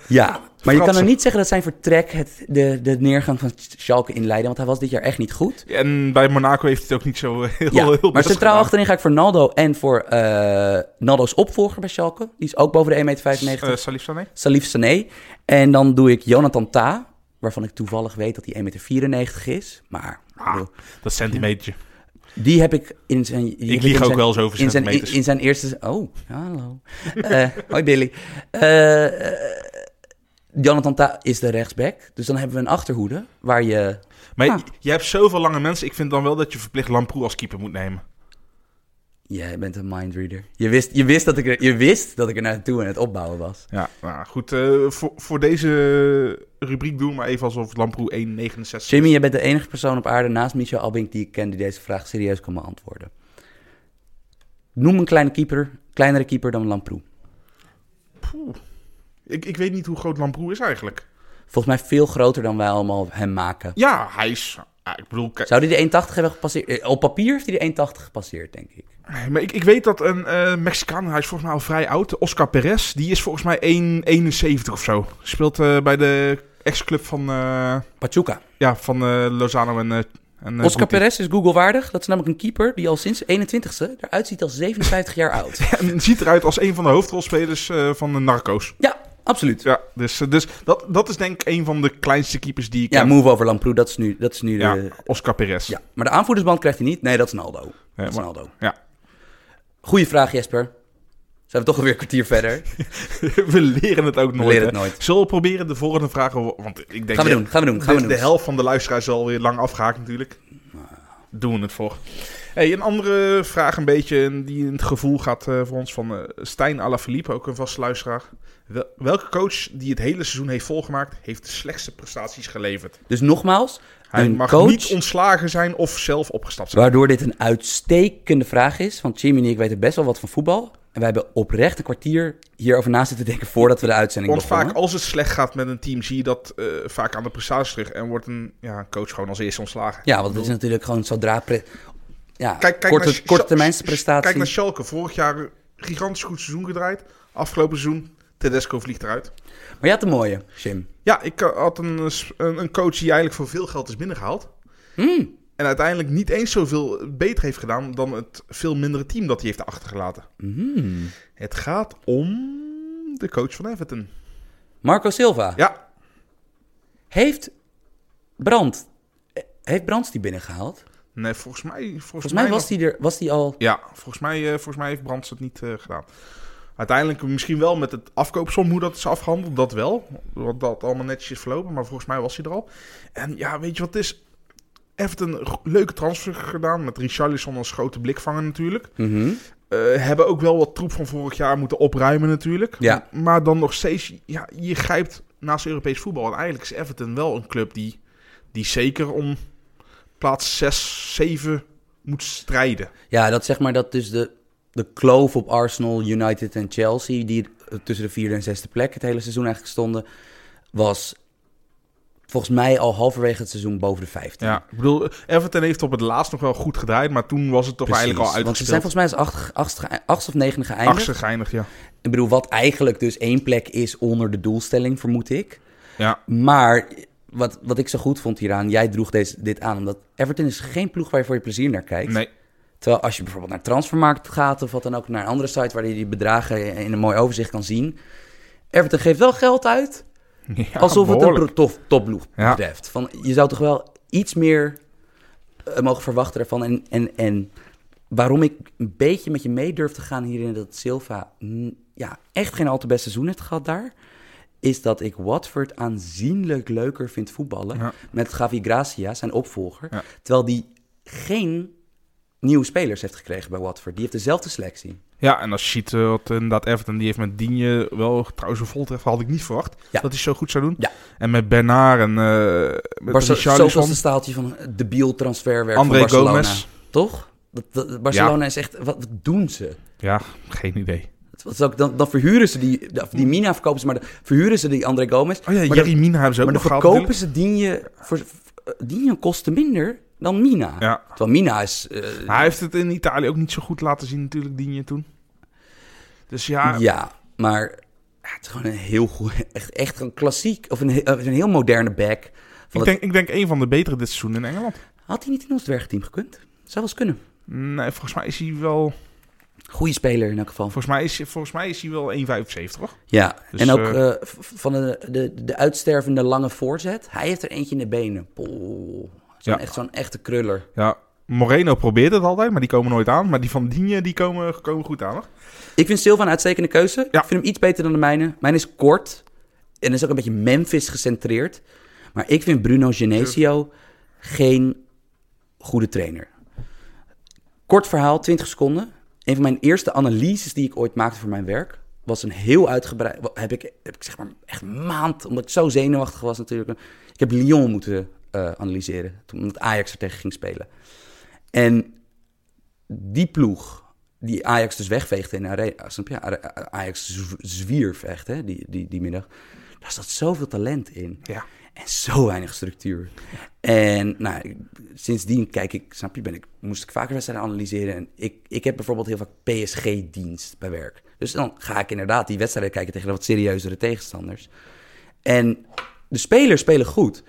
Speaker 1: Ja, maar je kan er
Speaker 2: Fratsen.
Speaker 1: niet zeggen dat zijn vertrek het, de, de neergang van Schalke inleidde, want hij was dit jaar echt niet goed.
Speaker 2: eh, En bij Monaco heeft hij het ook niet zo eh, [laughs] heel,
Speaker 1: Ja,
Speaker 2: heel best
Speaker 1: maar centraal
Speaker 2: gedaan.
Speaker 1: achterin ga ik voor Naldo en voor eh Naldo's opvolger bij Schalke. Die is ook boven de 1,95 meter.
Speaker 2: Eh, Salif Sané.
Speaker 1: Salif Sané. En dan doe ik Jonathan Ta, waarvan ik toevallig weet dat hij 1,94 meter is. Maar ik
Speaker 2: Ah,
Speaker 1: bedoel,
Speaker 2: dat centimetertje.
Speaker 1: die heb ik in zijn... die heb
Speaker 2: ik lieg
Speaker 1: in
Speaker 2: ook
Speaker 1: zijn-
Speaker 2: wel eens over
Speaker 1: in zijn,
Speaker 2: centimeters.
Speaker 1: in zijn eerste... Oh, hallo. Eh, [laughs] hoi Billy. Eh, eh, Jonathan Ta is de rechtsback. Dus dan hebben we een achterhoede waar je...
Speaker 2: Maar
Speaker 1: Ah.
Speaker 2: je, je hebt zoveel lange mensen. Ik vind dan wel dat je verplicht Lamproe als keeper moet nemen.
Speaker 1: Jij bent een mindreader. Je wist, je, wist dat ik er, je wist dat ik er naartoe aan het opbouwen was.
Speaker 2: Ja, nou goed. eh, voor, voor deze rubriek doen we maar even alsof Lamproe 1,69 is.
Speaker 1: Jimmy, jij bent de enige persoon op aarde naast Michel Albink die ik ken die deze vraag serieus kan beantwoorden. Noem een kleine keeper, kleinere keeper dan Lamproe.
Speaker 2: Poeh. Ik, ik weet niet hoe groot Lamproe is eigenlijk.
Speaker 1: Volgens mij veel groter dan wij allemaal hem maken.
Speaker 2: Ja, hij is... ah, ik bedoel, kijk,
Speaker 1: Zou die de 180 hebben gepasseerd? Eh, Op papier heeft hij de 180 gepasseerd, denk ik.
Speaker 2: maar ik, ik weet dat een eh, Mexicaan, hij is volgens mij al vrij oud, Oscar Perez, die is volgens mij 1,71 of zo. Speelt eh, bij de ex-club van, eh,
Speaker 1: Pachuca.
Speaker 2: ja, van eh, Lozano en... eh, en eh,
Speaker 1: Oscar
Speaker 2: Guti.
Speaker 1: Perez is Google waardig. Dat is namelijk een keeper die al sinds 21ste eruit ziet als 57 jaar oud.
Speaker 2: [laughs] En ziet eruit als een van de hoofdrolspelers eh, van de Narcos.
Speaker 1: Ja, absoluut.
Speaker 2: Ja, dus, eh, dus dat, dat is denk ik een van de kleinste keepers die ik
Speaker 1: Ja,
Speaker 2: ken.
Speaker 1: move over Lamproe, dat is nu, dat is nu de...
Speaker 2: Ja, Oscar Perez.
Speaker 1: Ja, maar de aanvoerdersband krijgt hij niet. Nee, dat is Naldo.
Speaker 2: Ja,
Speaker 1: dat is
Speaker 2: maar-
Speaker 1: Naldo.
Speaker 2: ja.
Speaker 1: Goeie vraag, Jesper. Zijn we toch alweer een kwartier verder?
Speaker 2: [laughs] We leren het ook nooit.
Speaker 1: leren het
Speaker 2: hè.
Speaker 1: nooit.
Speaker 2: Zullen we proberen de volgende vragen... Want ik denk...
Speaker 1: Gaan we doen, gaan we doen, gaan we
Speaker 2: de, de
Speaker 1: doen.
Speaker 2: helft van de luisteraars is alweer lang afgehaakt natuurlijk. Doen we het voor. Hey, een andere vraag een beetje en die in het gevoel gaat eh, voor ons van eh Stijn Alaphilippe, ook een vaste luisteraar. Wel- welke coach die het hele seizoen heeft volgemaakt, heeft de slechtste prestaties geleverd?
Speaker 1: Dus nogmaals,
Speaker 2: Hij
Speaker 1: een
Speaker 2: mag
Speaker 1: coach,
Speaker 2: niet ontslagen zijn of zelf opgestapt zijn.
Speaker 1: waardoor dit een uitstekende vraag is. Want Jimmy en ik weten best wel wat van voetbal. En wij hebben oprecht een kwartier hierover na zitten denken voordat we de uitzending
Speaker 2: Want
Speaker 1: begonnen.
Speaker 2: vaak als het slecht gaat met een team, zie je dat eh, vaak aan de prestaties terug. En wordt een ja, een coach gewoon als eerste ontslagen.
Speaker 1: Ja, want het is natuurlijk gewoon zodra... pre- Ja,
Speaker 2: Kijk, kijk
Speaker 1: korte,
Speaker 2: naar Sch-
Speaker 1: korte
Speaker 2: Sch-
Speaker 1: termijnsprestatie.
Speaker 2: Kijk naar Schalke. Vorig jaar een gigantisch goed seizoen gedraaid. Afgelopen seizoen, Tedesco vliegt eruit.
Speaker 1: Maar je had een mooie, Jim.
Speaker 2: Ja, ik eh, had een, eh, s- een een coach die eigenlijk voor veel geld is binnengehaald.
Speaker 1: Hmm.
Speaker 2: En uiteindelijk niet eens zoveel beter heeft gedaan dan het veel mindere team dat hij heeft achtergelaten.
Speaker 1: Mm.
Speaker 2: Het gaat om de coach van Everton.
Speaker 1: Marco Silva.
Speaker 2: Ja,
Speaker 1: Heeft Brand... eh, Heeft Brands die binnengehaald?
Speaker 2: nee, volgens mij... Volgens,
Speaker 1: Volgens mij
Speaker 2: nog-
Speaker 1: was die, er, was die al...
Speaker 2: Ja, volgens mij, eh, volgens mij heeft Brands het niet eh, gedaan. Uiteindelijk misschien wel met het afkoopsom hoe dat is afgehandeld, dat wel. Want dat allemaal netjes is verlopen, maar volgens mij was hij er al. En ja, weet je wat het is? Everton, een go- leuke transfer gedaan met Richarlison als grote blikvanger natuurlijk.
Speaker 1: Mhm.
Speaker 2: Eh, hebben ook wel wat troep van vorig jaar moeten opruimen natuurlijk.
Speaker 1: Ja.
Speaker 2: M- Maar dan nog steeds, ja, je grijpt naast Europees voetbal. En eigenlijk is Everton wel een club die, die zeker om plaats 6, 7 moet strijden.
Speaker 1: Ja, dat zeg maar dat dus de, de kloof op Arsenal, United en Chelsea, die eh, tussen de vierde en zesde plek het hele seizoen eigenlijk stonden, was volgens mij al halverwege het seizoen boven de vijftien.
Speaker 2: Ja, ik bedoel, Everton heeft op het laatst nog wel goed gedraaid, maar toen was het toch
Speaker 1: Precies,
Speaker 2: eigenlijk al
Speaker 1: Want ze zijn
Speaker 2: uitgespeeld.
Speaker 1: volgens mij als acht, achtst ge- achtst of negende geëindigd.
Speaker 2: Achtste geëindigd, ja.
Speaker 1: Ik bedoel, wat eigenlijk dus één plek is onder de doelstelling, vermoed ik.
Speaker 2: Ja,
Speaker 1: Maar wat, wat ik zo goed vond hieraan, jij droeg deze, dit aan. Omdat Everton is geen ploeg waar je voor je plezier naar kijkt.
Speaker 2: Nee. [laughs]
Speaker 1: Terwijl als je bijvoorbeeld naar Transfermarkt gaat of wat dan ook, naar een andere site waar je die bedragen in een mooi overzicht kan zien. Everton geeft wel geld uit,
Speaker 2: Ja,
Speaker 1: alsof het een
Speaker 2: behoorlijk.
Speaker 1: pro- tof, topploeg
Speaker 2: Ja.
Speaker 1: betreft. Van, je zou toch wel iets meer eh, mogen verwachten daarvan. En, en, en waarom ik een beetje met je mee durf te gaan hierin dat Silva mm, ja, echt geen al te best seizoen heeft gehad daar... is dat ik Watford aanzienlijk leuker vind voetballen
Speaker 2: Ja.
Speaker 1: met Gavi Gracia, zijn opvolger.
Speaker 2: Ja.
Speaker 1: Terwijl die geen nieuwe spelers heeft gekregen bij Watford. Die heeft dezelfde selectie.
Speaker 2: Ja, en als je ziet eh, wat inderdaad Everton, die heeft met Digne wel trouwens een voltreffer, had ik niet verwacht
Speaker 1: Ja.
Speaker 2: dat hij zo goed zou doen.
Speaker 1: Ja.
Speaker 2: En met Bernard en eh met
Speaker 1: Barce-
Speaker 2: Richarlison.
Speaker 1: zoveelste staaltje van de biel transferwerk
Speaker 2: André
Speaker 1: van Barcelona.
Speaker 2: Gomez.
Speaker 1: Toch? Dat, dat- Barcelona is echt... Wat, wat doen ze?
Speaker 2: Ja, geen idee.
Speaker 1: Wat is ook- dan, dan verhuren ze die... of Die Mina verkopen ze, maar dan verhuren ze die André Gomez.
Speaker 2: Oh ja,
Speaker 1: maar
Speaker 2: Jerry Mina hebben ze
Speaker 1: dan,
Speaker 2: ook
Speaker 1: maar dan
Speaker 2: nog gehad.
Speaker 1: verkopen ze Digne... Voor, eh, Digne kosten minder dan Mina.
Speaker 2: natuurlijk. Ja.
Speaker 1: Terwijl Mina is... eh,
Speaker 2: Maar hij heeft het in Italië ook niet zo goed laten zien natuurlijk, Digne toen. Dus ja,
Speaker 1: Ja, maar ja, het is gewoon een heel goed, [laughs] echt, echt een klassiek of een, he- eh, een heel moderne back. Van
Speaker 2: ik,
Speaker 1: dat-
Speaker 2: denk, ik denk een van de betere dit seizoen in Engeland.
Speaker 1: Had hij niet in ons dwergteam gekund? Zou wel eens kunnen.
Speaker 2: Nee, volgens mij is hij wel,
Speaker 1: Goeie speler in elk geval.
Speaker 2: volgens mij is, volgens mij is hij wel 1,75 hoor.
Speaker 1: Ja,
Speaker 2: Dus,
Speaker 1: en ook
Speaker 2: eh,
Speaker 1: eh, v- van de, de, de uitstervende lange voorzet. Hij heeft er eentje in de benen. Poeh, zo'n
Speaker 2: Ja.
Speaker 1: echt, zo'n echte kruller.
Speaker 2: Ja, Moreno probeert het altijd, maar die komen nooit aan. Maar die van Digne, die komen, komen goed aan hoor.
Speaker 1: Ik vind Silva een uitstekende keuze.
Speaker 2: Ja.
Speaker 1: Ik vind hem iets beter dan de mijne. Mijn is kort en is ook een beetje Memphis gecentreerd. Maar ik vind Bruno Genesio geen goede trainer. Kort verhaal, 20 seconden. Een van mijn eerste analyses die ik ooit maakte voor mijn werk was een heel uitgebreid. wa- Heb ik, heb ik zeg maar echt een maand, omdat ik zo zenuwachtig was natuurlijk. Ik heb Lyon moeten eh, analyseren toen omdat Ajax er tegen ging spelen. En die ploeg die Ajax dus wegveegde in de arena, snap je? Are- Ajax zw- zwierf echt, hè, die, die, die middag. Daar zat zoveel talent in.
Speaker 2: Ja.
Speaker 1: En zo weinig structuur. En nou, ik- sindsdien kijk ik, snap je, ben ik, moest ik vaker wedstrijden analyseren. En ik, ik heb bijvoorbeeld heel vaak PSG-dienst bij werk. Dus dan ga ik inderdaad die wedstrijden kijken tegen de wat serieuzere tegenstanders. En de spelers spelen goed.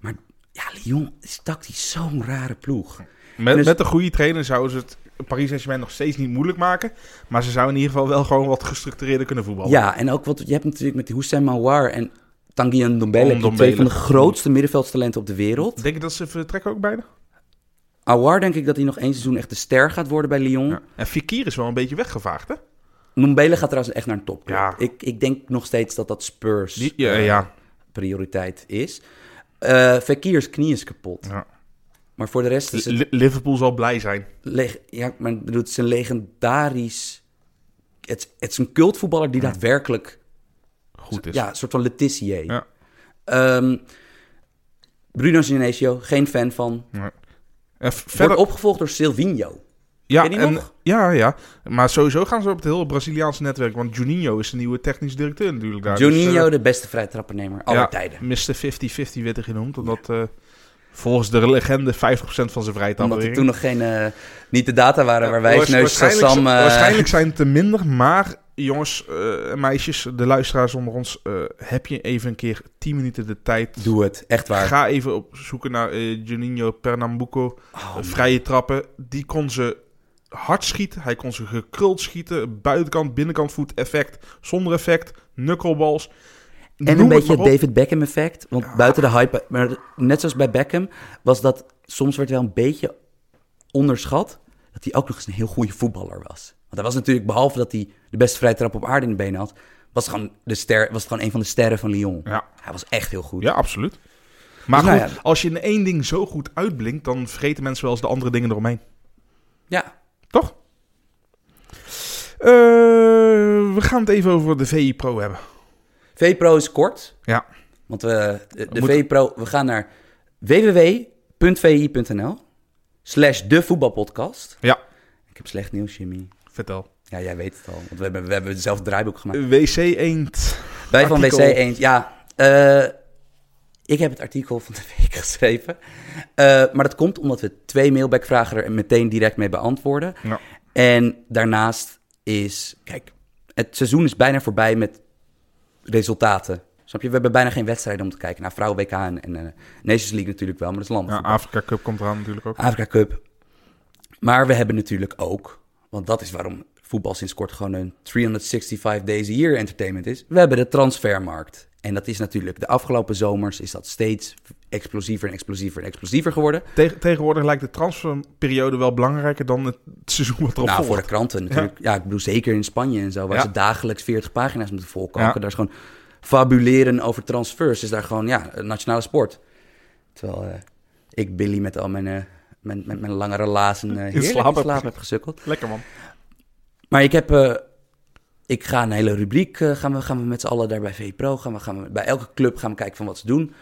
Speaker 1: Maar ja, Lyon is tactisch zo'n rare ploeg.
Speaker 2: Met,
Speaker 1: Dus-
Speaker 2: met een goede trainer zouden ze het Paris Saint-Germain nog steeds niet moeilijk maken. Maar ze zouden in ieder geval wel gewoon wat gestructureerder kunnen voetballen.
Speaker 1: Ja, en ook wat je hebt natuurlijk met Houssem Mawar en Tanguy Ndombele, die
Speaker 2: Ndombele.
Speaker 1: twee van de grootste middenveldstalenten op de wereld.
Speaker 2: Denk je dat ze vertrekken ook bijna?
Speaker 1: Awar denk ik dat hij nog één seizoen echt de ster gaat worden bij Lyon.
Speaker 2: Ja. En Fikir is wel een beetje weggevaagd, hè?
Speaker 1: Ndombele gaat trouwens echt naar een topclub.
Speaker 2: Ja.
Speaker 1: Ik, ik denk nog steeds dat dat Spurs
Speaker 2: Die, ja,
Speaker 1: eh,
Speaker 2: ja.
Speaker 1: prioriteit is. Eh Verkiers knie is kapot.
Speaker 2: Ja.
Speaker 1: Maar voor de rest is Dus het...
Speaker 2: Li- Liverpool zal blij zijn.
Speaker 1: leg- ja, maar ik bedoel, het is een legendarisch... Het, is- het is een cultvoetballer die daadwerkelijk...
Speaker 2: Goed is.
Speaker 1: Ja, een soort van Letizier.
Speaker 2: Ja.
Speaker 1: Ehm, Bruno Genesio, geen fan van.
Speaker 2: En v- verder,
Speaker 1: Wordt opgevolgd door Silvinho.
Speaker 2: ja,
Speaker 1: ken je die
Speaker 2: en,
Speaker 1: nog?
Speaker 2: ja, ja. Maar sowieso gaan ze op het hele Braziliaanse netwerk. Want Juninho is de nieuwe technisch directeur natuurlijk daar.
Speaker 1: Juninho,
Speaker 2: Dus, eh,
Speaker 1: de beste vrijtrappennemer aller
Speaker 2: ja,
Speaker 1: tijden.
Speaker 2: Mr. 50-50 werd er genoemd. Omdat eh, volgens de legende 50% van zijn vrijheid
Speaker 1: Omdat er toen nog geen, eh, niet de data waren waar wij neus Sam... eh,
Speaker 2: Waarschijnlijk zijn het er minder, maar jongens eh, en meisjes, de luisteraars onder ons, eh, heb je even een keer 10 minuten de tijd.
Speaker 1: [laughs] Doe het, echt waar.
Speaker 2: Ga even op zoeken naar eh, Juninho Pernambuco.
Speaker 1: Oh,
Speaker 2: Eh, vrije trappen. Die kon ze hard schieten. Hij kon ze gekruld schieten. Buitenkant, binnenkant voet, effect. Zonder effect, knuckleballs.
Speaker 1: en
Speaker 2: Noem
Speaker 1: een
Speaker 2: het
Speaker 1: beetje
Speaker 2: maar
Speaker 1: het
Speaker 2: op.
Speaker 1: David Beckham effect. Want buiten de hype... Maar net zoals bij Beckham was dat... Soms werd wel een beetje onderschat... dat hij ook nog eens een heel goede voetballer was. Want hij was natuurlijk, behalve dat hij de beste vrijtrap op aarde in de benen had... was, gewoon de ster, was het gewoon een van de sterren van Lyon.
Speaker 2: Ja.
Speaker 1: Hij was echt heel goed.
Speaker 2: Ja, absoluut. Maar
Speaker 1: Dus nou
Speaker 2: goed, als je in één ding zo goed uitblinkt, dan vergeten mensen wel eens de andere dingen eromheen.
Speaker 1: ja.
Speaker 2: Toch? Eh, we gaan het even over de VI Pro hebben.
Speaker 1: VPRO is kort.
Speaker 2: Ja.
Speaker 1: Want we, de, de
Speaker 2: moeten-
Speaker 1: VPRO, we gaan naar www.vi.nl slash de voetbalpodcast.
Speaker 2: Ja.
Speaker 1: Ik heb slecht nieuws, Jimmy.
Speaker 2: Vertel.
Speaker 1: Ja, jij weet het al. Want we hebben, we hebben zelf het draaiboek gemaakt.
Speaker 2: WC Eend.
Speaker 1: Wij van WC
Speaker 2: artikel.
Speaker 1: Eend, ja. eh, ik heb het artikel van de week [laughs] geschreven. Eh, maar dat komt omdat we twee mailbackvragen er meteen direct mee beantwoorden.
Speaker 2: Ja.
Speaker 1: En daarnaast is, kijk, het seizoen is bijna voorbij met resultaten Snap je? We hebben bijna geen wedstrijden om te kijken. Naar vrouwen WK en, en eh, Nations League natuurlijk wel, maar dat is
Speaker 2: Ja,
Speaker 1: landen.
Speaker 2: Afrika Cup komt eraan natuurlijk ook.
Speaker 1: Afrika Cup. Maar we hebben natuurlijk ook, want dat is waarom voetbal sinds kort gewoon een 365 days a year entertainment is. We hebben de transfermarkt. En dat is natuurlijk, de afgelopen zomers is dat steeds explosiever en explosiever en explosiever geworden. Nou,
Speaker 2: Tegen- tegenwoordig lijkt de transferperiode wel belangrijker dan het seizoen wat erop
Speaker 1: nou, voor de
Speaker 2: volgt.
Speaker 1: kranten natuurlijk. Ja. ik bedoel, zeker in Spanje en zo, waar
Speaker 2: Ja.
Speaker 1: ze dagelijks 40 pagina's moeten volkomen.
Speaker 2: Ja.
Speaker 1: Daar is gewoon fabuleren over transfers. Is daar gewoon, ja, een nationale sport. Terwijl eh, ik Billy met al mijn, eh, mijn, met mijn lange relazen eh heerlijk in
Speaker 2: slaap
Speaker 1: slaap,
Speaker 2: heb
Speaker 1: heb gesukkeld.
Speaker 2: Lekker man.
Speaker 1: Maar ik heb... eh, ik ga een hele rubriek, eh, gaan, we, gaan we met z'n allen daar bij VPRO, gaan we, gaan we, bij elke club gaan we kijken van wat ze doen.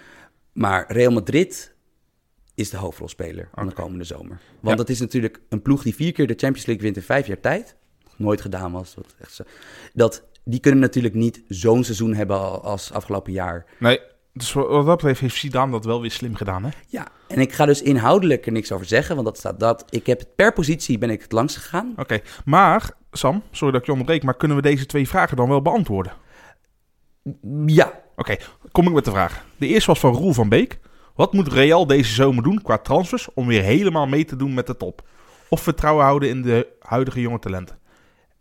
Speaker 1: Maar Real Madrid is de hoofdrolspeler van de komende zomer. Want
Speaker 2: Ja.
Speaker 1: dat is natuurlijk een ploeg die vier keer de Champions League wint in vijf jaar tijd. Nog Nooit gedaan was. Wat echt zo. Dat, die kunnen natuurlijk niet zo'n seizoen hebben al- als afgelopen jaar.
Speaker 2: Nee, dus wat wat dat betreft heeft Zidane dat wel weer slim gedaan, hè?
Speaker 1: Ja, en ik ga dus inhoudelijk er niks over zeggen, want dat staat dat. Ik heb het per positie ben ik het langs gegaan.
Speaker 2: Oké, maar Sam, sorry dat ik je onderbreek, maar kunnen we deze twee vragen dan wel beantwoorden?
Speaker 1: Ja,
Speaker 2: Oké, kom ik met de vraag. De eerste was van Roel van Beek. Wat moet Real deze zomer doen qua transfers om weer helemaal mee te doen met de top? Of vertrouwen houden in de huidige jonge talenten?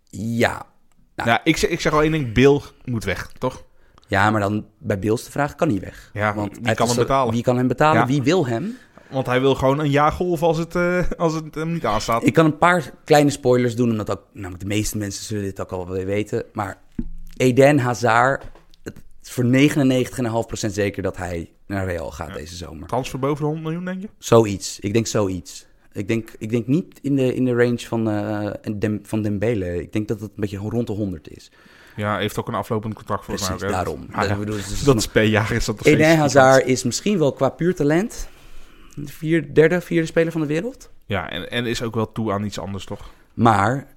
Speaker 1: ja.
Speaker 2: Nou, ik, zeg, ik zeg al één ding, Bill moet weg, toch?
Speaker 1: Ja, maar dan bij Bills de vraag, kan hij weg?
Speaker 2: Ja,
Speaker 1: Want
Speaker 2: wie
Speaker 1: hij heeft
Speaker 2: kan hem
Speaker 1: een-
Speaker 2: betalen?
Speaker 1: Wie kan hem betalen?
Speaker 2: Ja.
Speaker 1: Wie wil hem?
Speaker 2: Want hij wil gewoon een jaar golven als het, eh, als het hem niet aanstaat.
Speaker 1: Ik kan een paar kleine spoilers doen, omdat ook, namelijk de meeste mensen zullen dit ook al wel weten. Maar Eden Hazard, het is voor 99,5% zeker dat hij naar Real gaat deze zomer.
Speaker 2: Transfer boven de 100 miljoen, denk je?
Speaker 1: Zoiets. Ik denk zoiets. Ik denk, ik denk niet in de, in de range van, eh, Dem- van Dembele. Ik denk dat het een beetje rond de 100 is.
Speaker 2: Ja, hij heeft ook een aflopend contract volgens
Speaker 1: Precies,
Speaker 2: mij. ook, hè?
Speaker 1: daarom.
Speaker 2: Maar ja,
Speaker 1: Ik bedoel, het is-
Speaker 2: [laughs] dat is per jaar is dat nog steeds
Speaker 1: Eden
Speaker 2: niet
Speaker 1: Hazard is misschien wel qua puur talent... de vier, derde, vierde speler van de wereld.
Speaker 2: Ja, en, en is ook wel toe aan iets anders, toch?
Speaker 1: Maar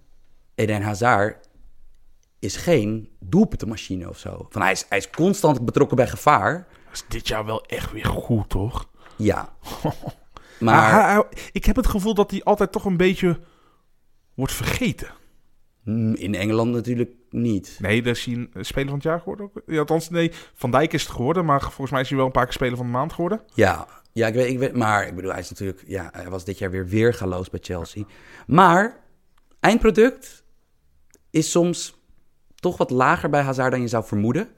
Speaker 1: Eden Hazard is geen doelpuntenmachine of zo. Van, hij, is, hij is constant betrokken bij gevaar.
Speaker 2: Is dit jaar wel echt weer goed, toch?
Speaker 1: Ja.
Speaker 2: [laughs] Maar
Speaker 1: Maar
Speaker 2: hij- hij- ik heb het gevoel dat hij altijd toch een beetje wordt vergeten.
Speaker 1: mm, in Engeland natuurlijk niet.
Speaker 2: Nee, daar is hij een eh, speler van het jaar geworden. Ook. Ja, althans, nee, Van Dijk is het geworden. Maar volgens mij is hij wel een paar keer speler van de maand geworden.
Speaker 1: Ja, ja ik, weet, ik weet. Maar ik bedoel, hij is natuurlijk. Ja, hij was dit jaar weer weergaloos bij Chelsea. Maar eindproduct is soms toch wat lager bij Hazard dan je zou vermoeden.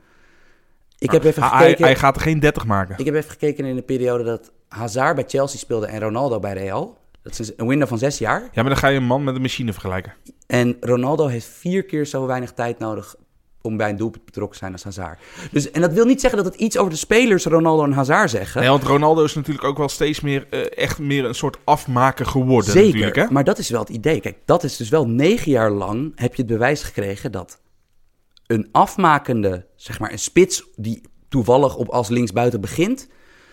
Speaker 1: Ik heb even
Speaker 2: Ah, Hij, hij,
Speaker 1: gekeken.
Speaker 2: hij gaat er geen 30 maken.
Speaker 1: Ik heb even gekeken in de periode dat Hazard bij Chelsea speelde en Ronaldo bij Real. Dat is een window van zes jaar.
Speaker 2: Ja, maar dan ga je een man met een machine vergelijken.
Speaker 1: En Ronaldo heeft vier keer zo weinig tijd nodig om bij een doelpunt betrokken te zijn als Hazard. Dus, en dat wil niet zeggen dat het iets over de spelers Ronaldo en Hazard zeggen.
Speaker 2: Nee, want Ronaldo is natuurlijk ook wel steeds meer eh, echt meer een soort afmaker geworden.
Speaker 1: Zeker,
Speaker 2: natuurlijk, hè?
Speaker 1: maar dat is wel het idee. Kijk, dat is dus wel negen jaar lang heb je het bewijs gekregen dat een afmakende, zeg maar een spits die toevallig op als linksbuiten begint,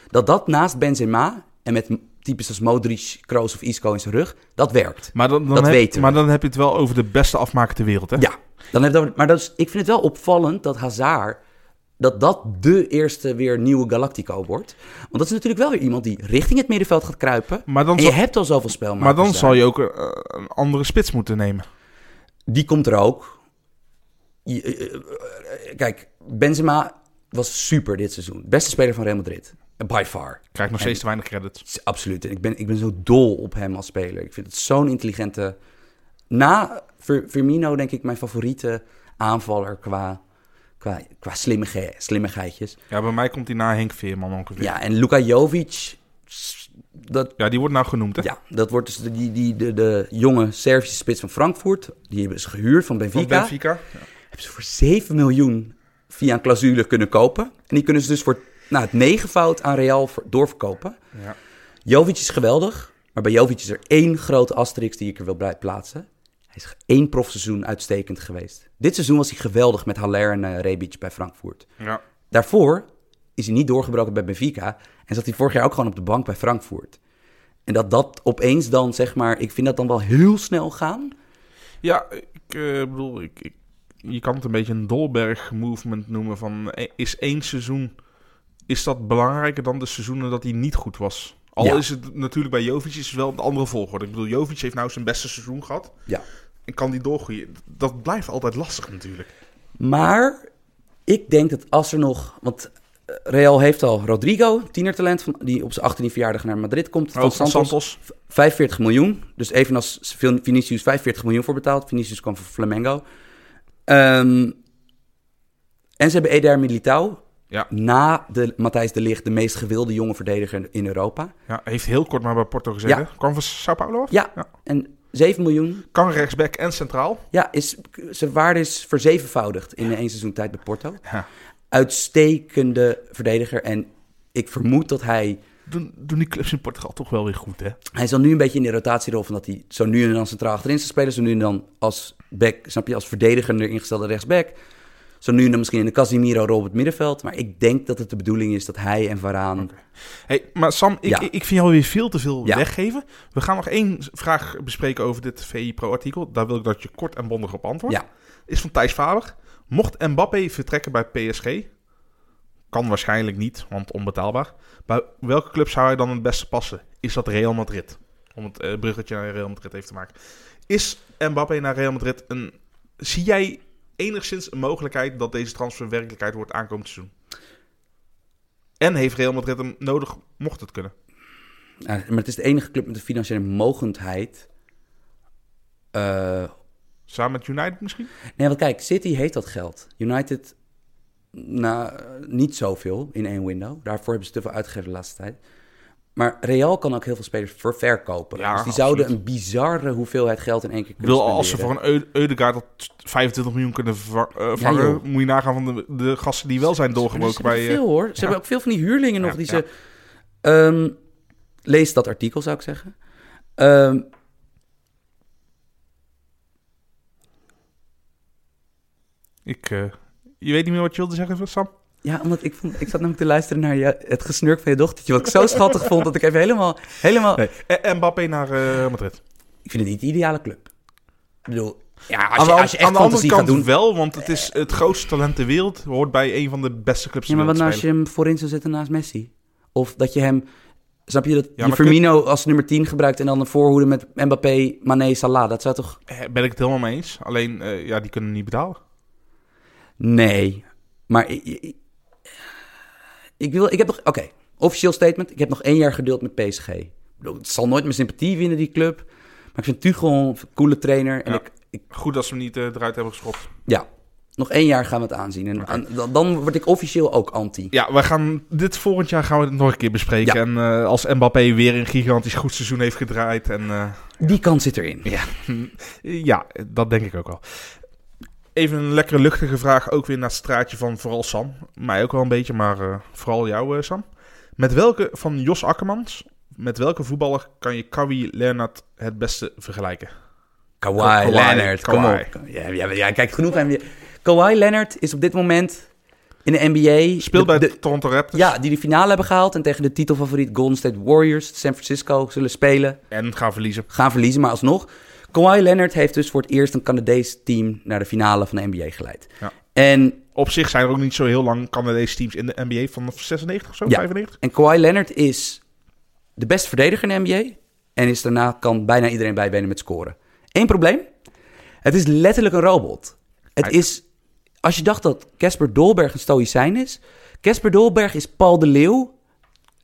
Speaker 1: dat dat naast Benzema en met types als Modric, Kroos of Isco in zijn rug, dat werkt.
Speaker 2: Maar dan, dan
Speaker 1: Dat
Speaker 2: heb,
Speaker 1: weten we.
Speaker 2: Maar dan heb je het wel over de beste afmaker ter wereld, hè?
Speaker 1: Ja, dan heb je het over- maar dat is, ik vind het wel opvallend dat Hazard... dat dat de eerste weer nieuwe Galactico wordt. Want dat is natuurlijk wel weer iemand die richting het middenveld gaat kruipen.
Speaker 2: Maar dan
Speaker 1: en
Speaker 2: zal-
Speaker 1: je hebt al zoveel spel.
Speaker 2: Maar dan zal je ook eh, een andere spits moeten nemen.
Speaker 1: Die komt er ook. Je- eh, eh, eh, Kijk, Benzema was super dit seizoen. Beste speler van Real Madrid. By far.
Speaker 2: Krijgt nog steeds te weinig credits.
Speaker 1: Het is Absoluut. En ik ben, ik ben zo dol op hem als speler. Ik vind het zo'n intelligente... Na Fir- Firmino denk ik mijn favoriete aanvaller qua, qua, qua slimmige, slimmigheidjes.
Speaker 2: Ja, bij mij komt hij na Henk Veerman ongeveer. Ja,
Speaker 1: Ja, en Luka Jovic... s- Dat,
Speaker 2: die wordt nou genoemd, hè?
Speaker 1: ja, dat wordt dus de, die, die, de, de jonge Servische spits van Frankfurt. Die hebben ze gehuurd van
Speaker 2: Van
Speaker 1: Benfica.
Speaker 2: Benfica.
Speaker 1: Hebben ze voor 7 miljoen via een clausule kunnen kopen. En die kunnen ze dus voor nou, het negenvoud aan Real ver- doorverkopen.
Speaker 2: Ja.
Speaker 1: Jovic is geweldig, maar bij Jovic is er één grote asterix die ik er wil bij plaatsen. Hij is één profseizoen uitstekend geweest. Dit seizoen was hij geweldig met Haller en eh, Rebic bij Frankfurt.
Speaker 2: ja.
Speaker 1: Daarvoor is hij niet doorgebroken bij Benfica en zat hij vorig jaar ook gewoon op de bank bij Frankfurt. En dat dat opeens dan, zeg maar, ik vind dat dan wel heel snel gaan.
Speaker 2: Ja, ik eh, bedoel, ik, ik- je kan het een beetje een Dolberg-movement noemen. Van, eh, is één seizoen, is dat belangrijker dan de seizoenen dat hij niet goed was? Al
Speaker 1: Ja.
Speaker 2: is het natuurlijk bij Jovic is het wel een andere volgorde. Ik bedoel, Jovic heeft nou zijn beste seizoen gehad.
Speaker 1: Ja.
Speaker 2: En kan die doorgroeien? Dat blijft altijd lastig natuurlijk.
Speaker 1: Maar Ik denk dat als er nog... Want eh, Real heeft al Rodrigo, tienertalent, van, die op zijn 18e verjaardag naar Madrid komt.
Speaker 2: Ook van
Speaker 1: Santos.
Speaker 2: Santos.
Speaker 1: 45 miljoen. Dus evenals Vin- Vinicius 45 miljoen voor betaald. Vinicius kwam van Flamengo. Ehm, en ze hebben Eder Militao.
Speaker 2: Ja.
Speaker 1: Na de Matthijs de Ligt, de meest gewilde jonge verdediger in Europa.
Speaker 2: Ja, heeft heel kort maar bij Porto gezeten.
Speaker 1: Ja.
Speaker 2: Kwam van Sao Paulo af.
Speaker 1: Ja.
Speaker 2: Ja.
Speaker 1: En 7 miljoen.
Speaker 2: Kan rechtsback en centraal.
Speaker 1: Ja, is, zijn waarde is verzevenvoudigd in één seizoen tijd bij Porto.
Speaker 2: Ja.
Speaker 1: Uitstekende verdediger. En ik vermoed dat hij.
Speaker 2: Doen, doen die clubs in Portugal toch wel weer goed, hè?
Speaker 1: Hij zal nu een beetje in de rotatierol van dat hij zo nu en dan centraal achterin zou spelen. Zo nu en dan als back, snap je, als verdediger erin gestelde rechtsback. Zo nu en dan misschien in de Casimiro-rol op het middenveld. Maar ik denk dat het de bedoeling is dat hij en Varaan...
Speaker 2: Hey, maar Sam, ik,
Speaker 1: Ja.
Speaker 2: ik, ik vind jou weer veel te veel
Speaker 1: Ja.
Speaker 2: weggeven. We gaan nog één vraag bespreken over dit VI Pro-artikel. Daar wil ik dat je kort en bondig op antwoordt.
Speaker 1: Ja.
Speaker 2: Is van Thijs Faber. Mocht Mbappé vertrekken bij PSG? Kan waarschijnlijk niet, want onbetaalbaar. Bij welke club zou hij dan het beste passen? Is dat Real Madrid? Om het eh, bruggetje naar Real Madrid even te maken. Is Mbappé naar Real Madrid een... Zie jij enigszins een mogelijkheid dat deze transfer werkelijkheid wordt aankomend seizoen? En heeft Real Madrid hem nodig, mocht het kunnen?
Speaker 1: Ja, eh, maar het is de enige club met de financiële mogendheid. Eh,
Speaker 2: Samen met United misschien?
Speaker 1: nee, want kijk, City heeft dat geld. United, nou, eh, niet zoveel in één window. Daarvoor hebben ze te veel uitgegeven de laatste tijd. Maar Real kan ook heel veel spelers voor verkopen.
Speaker 2: Ja,
Speaker 1: dus die
Speaker 2: absoluut.
Speaker 1: zouden een bizarre hoeveelheid geld in één keer
Speaker 2: Ik
Speaker 1: kunnen
Speaker 2: wil als ze voor
Speaker 1: spenderen.
Speaker 2: een Eu- Eudegaard tot 25 miljoen kunnen ver- eh, vangen,
Speaker 1: joh.
Speaker 2: moet je nagaan van de, de gasten die wel zijn
Speaker 1: Maar
Speaker 2: doorgebroken
Speaker 1: er
Speaker 2: bij...
Speaker 1: zitten
Speaker 2: eh,
Speaker 1: veel hoor. Ze
Speaker 2: ja.
Speaker 1: hebben ook veel van die huurlingen nog
Speaker 2: Ja,
Speaker 1: die
Speaker 2: ja.
Speaker 1: ze... Ehm, lees dat artikel, zou ik zeggen. Ehm,
Speaker 2: ik, eh, je weet niet meer wat je wilde zeggen, Sam?
Speaker 1: ja, omdat ik, vond, ik zat namelijk te luisteren naar je, het gesnurk van je dochtertje. Wat ik zo schattig vond dat ik even helemaal... helemaal
Speaker 2: Nee. En Mbappé naar eh, Madrid.
Speaker 1: Ik vind het niet de ideale club. Ik bedoel... Ja,
Speaker 2: aan
Speaker 1: als
Speaker 2: de,
Speaker 1: je, als je echt
Speaker 2: aan de andere
Speaker 1: fantasie gaat doen...
Speaker 2: kant wel, want het is het grootste talent ter wereld. Hoort bij een van de beste clubs
Speaker 1: Ja,
Speaker 2: ter
Speaker 1: maar wat nou
Speaker 2: wereld te
Speaker 1: als je hem voorin zou zetten naast Messi? Of dat je hem... Snap je dat je
Speaker 2: maar kun-
Speaker 1: Firmino als nummer 10 gebruikt en dan een voorhoede met Mbappé, Mané, Salah? Dat zou toch...
Speaker 2: spelen. Eh, Ben ik het helemaal mee eens. Alleen, eh, ja, die kunnen niet betalen.
Speaker 1: Nee, maar ik, ik- ik wil, ik heb nog, oké, officieel statement. Ik heb nog één jaar geduld met PSG. Ik bedoel, het zal nooit mijn sympathie winnen die club, maar ik vind Tuchel een coole trainer en
Speaker 2: Ja.
Speaker 1: ik, ik,
Speaker 2: Goed dat ze hem niet eh, eruit hebben geschopt.
Speaker 1: ja, nog één jaar gaan we het aanzien en aan- dan, dan word ik officieel ook anti.
Speaker 2: Ja, we gaan, dit volgend jaar gaan we het nog een keer bespreken.
Speaker 1: Ja.
Speaker 2: En eh, als Mbappé weer een gigantisch goed seizoen heeft gedraaid. En, eh,
Speaker 1: Die kans zit erin.
Speaker 2: Ja. Ja, dat denk ik ook wel. Even een lekkere luchtige vraag, ook weer naar het straatje van vooral Sam. Mij ook wel een beetje, maar eh, vooral jou eh, Sam. Met welke, van Jos Akkermans, met welke voetballer kan je Kawi Leonard het beste vergelijken?
Speaker 1: Kawhi
Speaker 2: Kawhi,
Speaker 1: Leonard, kom
Speaker 2: Kawhi.
Speaker 1: op. Ja, ja, ja, kijk genoeg aan je. Kawhi Leonard is op dit moment in de NBA.
Speaker 2: Speelt bij
Speaker 1: de-
Speaker 2: de Toronto Raptors
Speaker 1: ja, die de finale hebben gehaald en tegen de titelfavoriet Golden State Warriors, San Francisco, zullen spelen.
Speaker 2: en gaan verliezen.
Speaker 1: gaan verliezen, maar alsnog. Kawhi Leonard heeft dus voor het eerst een Canadees team naar de finale van de NBA geleid.
Speaker 2: Ja.
Speaker 1: En,
Speaker 2: Op zich zijn er ook niet zo heel lang Canadese teams in de NBA vanaf 96 of zo,
Speaker 1: Ja.
Speaker 2: 95.
Speaker 1: en Kawhi Leonard is de beste verdediger in de NBA. En is daarna kan bijna iedereen bijbenen met scoren. Eén probleem. Het is letterlijk een robot. Het
Speaker 2: Hij-
Speaker 1: is... Als je dacht dat Casper Dolberg een stoïcijn is... Casper Dolberg is Paul de Leeuw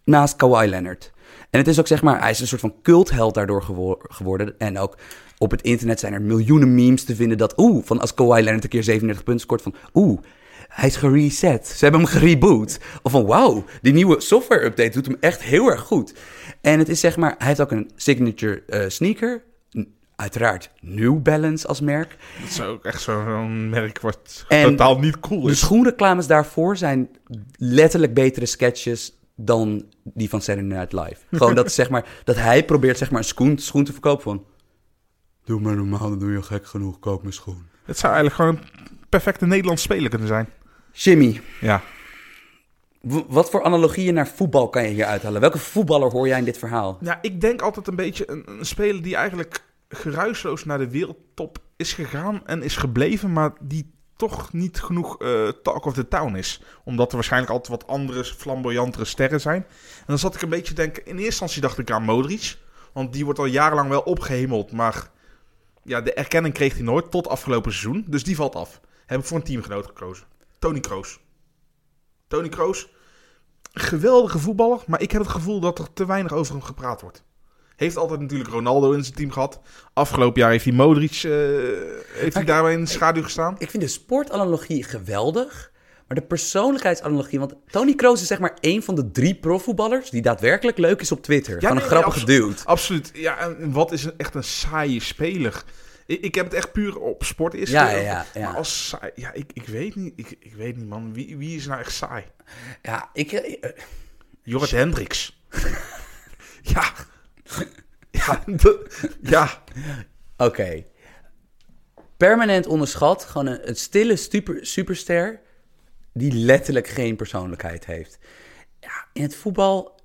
Speaker 1: naast Kawhi Leonard. En het is ook zeg maar, hij is een soort van cultheld daardoor gewo- geworden. En ook op het internet zijn er miljoenen memes te vinden dat, oeh, van als Kawhi Leonard een keer 37 punten scoort, van oeh, hij is gereset. Ze hebben hem gereboot. Of van wauw, die nieuwe software update doet hem echt heel erg goed. En het is zeg maar, hij heeft ook een signature eh, sneaker. N- Uiteraard New Balance als merk.
Speaker 2: Dat is ook echt zo'n zo'n merk wat
Speaker 1: En- Dus-
Speaker 2: totaal niet cool
Speaker 1: De
Speaker 2: is.
Speaker 1: schoenreclames daarvoor zijn letterlijk betere sketches dan die van Saturday Night [laughs] Live. Gewoon dat, zeg maar, dat hij probeert zeg maar, een schoen, schoen te verkopen van... Doe maar normaal, dan doe je gek genoeg, koop mijn schoen.
Speaker 2: Het zou eigenlijk gewoon een perfecte Nederlands speler kunnen zijn.
Speaker 1: Jimmy,
Speaker 2: Ja.
Speaker 1: w- wat voor analogieën naar voetbal kan je hier uithalen? Welke voetballer hoor jij in dit verhaal?
Speaker 2: Ja, ik denk altijd een beetje een, een speler die eigenlijk geruisloos naar de wereldtop is gegaan en is gebleven, maar die toch niet genoeg eh, talk of the town is. Omdat er waarschijnlijk altijd wat andere, flamboyantere sterren zijn. En dan zat ik een beetje te denken, in eerste instantie dacht ik aan Modric, want die wordt al jarenlang wel opgehemeld, maar ja, de erkenning kreeg hij nooit tot afgelopen seizoen, dus die valt af. Heb ik voor een teamgenoot gekozen. Tony Kroos. Tony Kroos, geweldige voetballer, maar ik heb het gevoel dat er te weinig over hem gepraat wordt. Heeft altijd natuurlijk Ronaldo in zijn team gehad. Afgelopen jaar heeft hij Modric, eh, heeft hij daarbij in de schaduw gestaan.
Speaker 1: Ik vind de sportanalogie geweldig, maar de persoonlijkheidsanalogie... Want Tony Kroos is zeg maar één van de drie profvoetballers die daadwerkelijk leuk is op Twitter. van
Speaker 2: nee,
Speaker 1: een
Speaker 2: nee,
Speaker 1: grappige
Speaker 2: abso-
Speaker 1: dude.
Speaker 2: Absoluut. Ja, en wat is een, echt een saaie speler. Ik, ik heb het echt puur op sport is.
Speaker 1: Ja, ja, ja, ja.
Speaker 2: Maar als saai, ja, ik, ik weet niet, ik, ik weet niet man, wie, wie is nou echt saai?
Speaker 1: Ja, ik... eh,
Speaker 2: Jorrit
Speaker 1: [laughs]
Speaker 2: Hendricks. ja. Ja, [laughs] dat- ja.
Speaker 1: Oké. Permanent onderschat, gewoon een, een stille super, superster die letterlijk geen persoonlijkheid heeft. Ja, in het voetbal.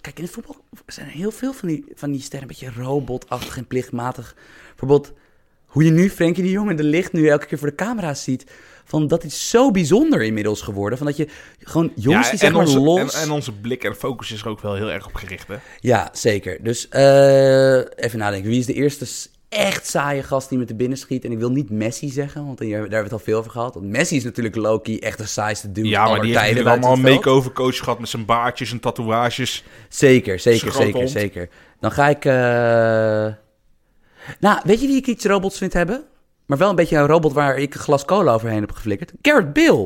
Speaker 1: Kijk, in het voetbal zijn er heel veel van die, van die sterren een beetje robotachtig en plichtmatig. Bijvoorbeeld hoe je nu Frenkie de Jong en de licht nu elke keer voor de camera ziet. Van dat is zo bijzonder inmiddels geworden. Van dat je gewoon jongens
Speaker 2: Ja,
Speaker 1: die zeg
Speaker 2: en
Speaker 1: maar
Speaker 2: onze,
Speaker 1: los...
Speaker 2: En, en onze blik en focus is er ook wel heel erg op gericht, hè?
Speaker 1: Ja, zeker. Dus eh, even nadenken. Wie is de eerste s- echt saaie gast die met de binnen schiet? En ik wil niet Messi zeggen, want hier- daar hebben we het al veel over gehad. Want Messi is natuurlijk Loki, echt de saaiste dude
Speaker 2: Ja, maar
Speaker 1: aller
Speaker 2: die heeft
Speaker 1: tijden
Speaker 2: natuurlijk
Speaker 1: buiten
Speaker 2: allemaal
Speaker 1: het
Speaker 2: een
Speaker 1: veld.
Speaker 2: make-over coach gehad met zijn baardjes en tatoeages.
Speaker 1: Zeker,
Speaker 2: Zijn
Speaker 1: zeker,
Speaker 2: grote
Speaker 1: zeker,
Speaker 2: hond.
Speaker 1: zeker. Dan ga ik... eh, Nou, weet je wie ik iets robots vind hebben? Maar wel een beetje een robot waar ik een glas cola overheen heb geflikkerd. Garrett Bill.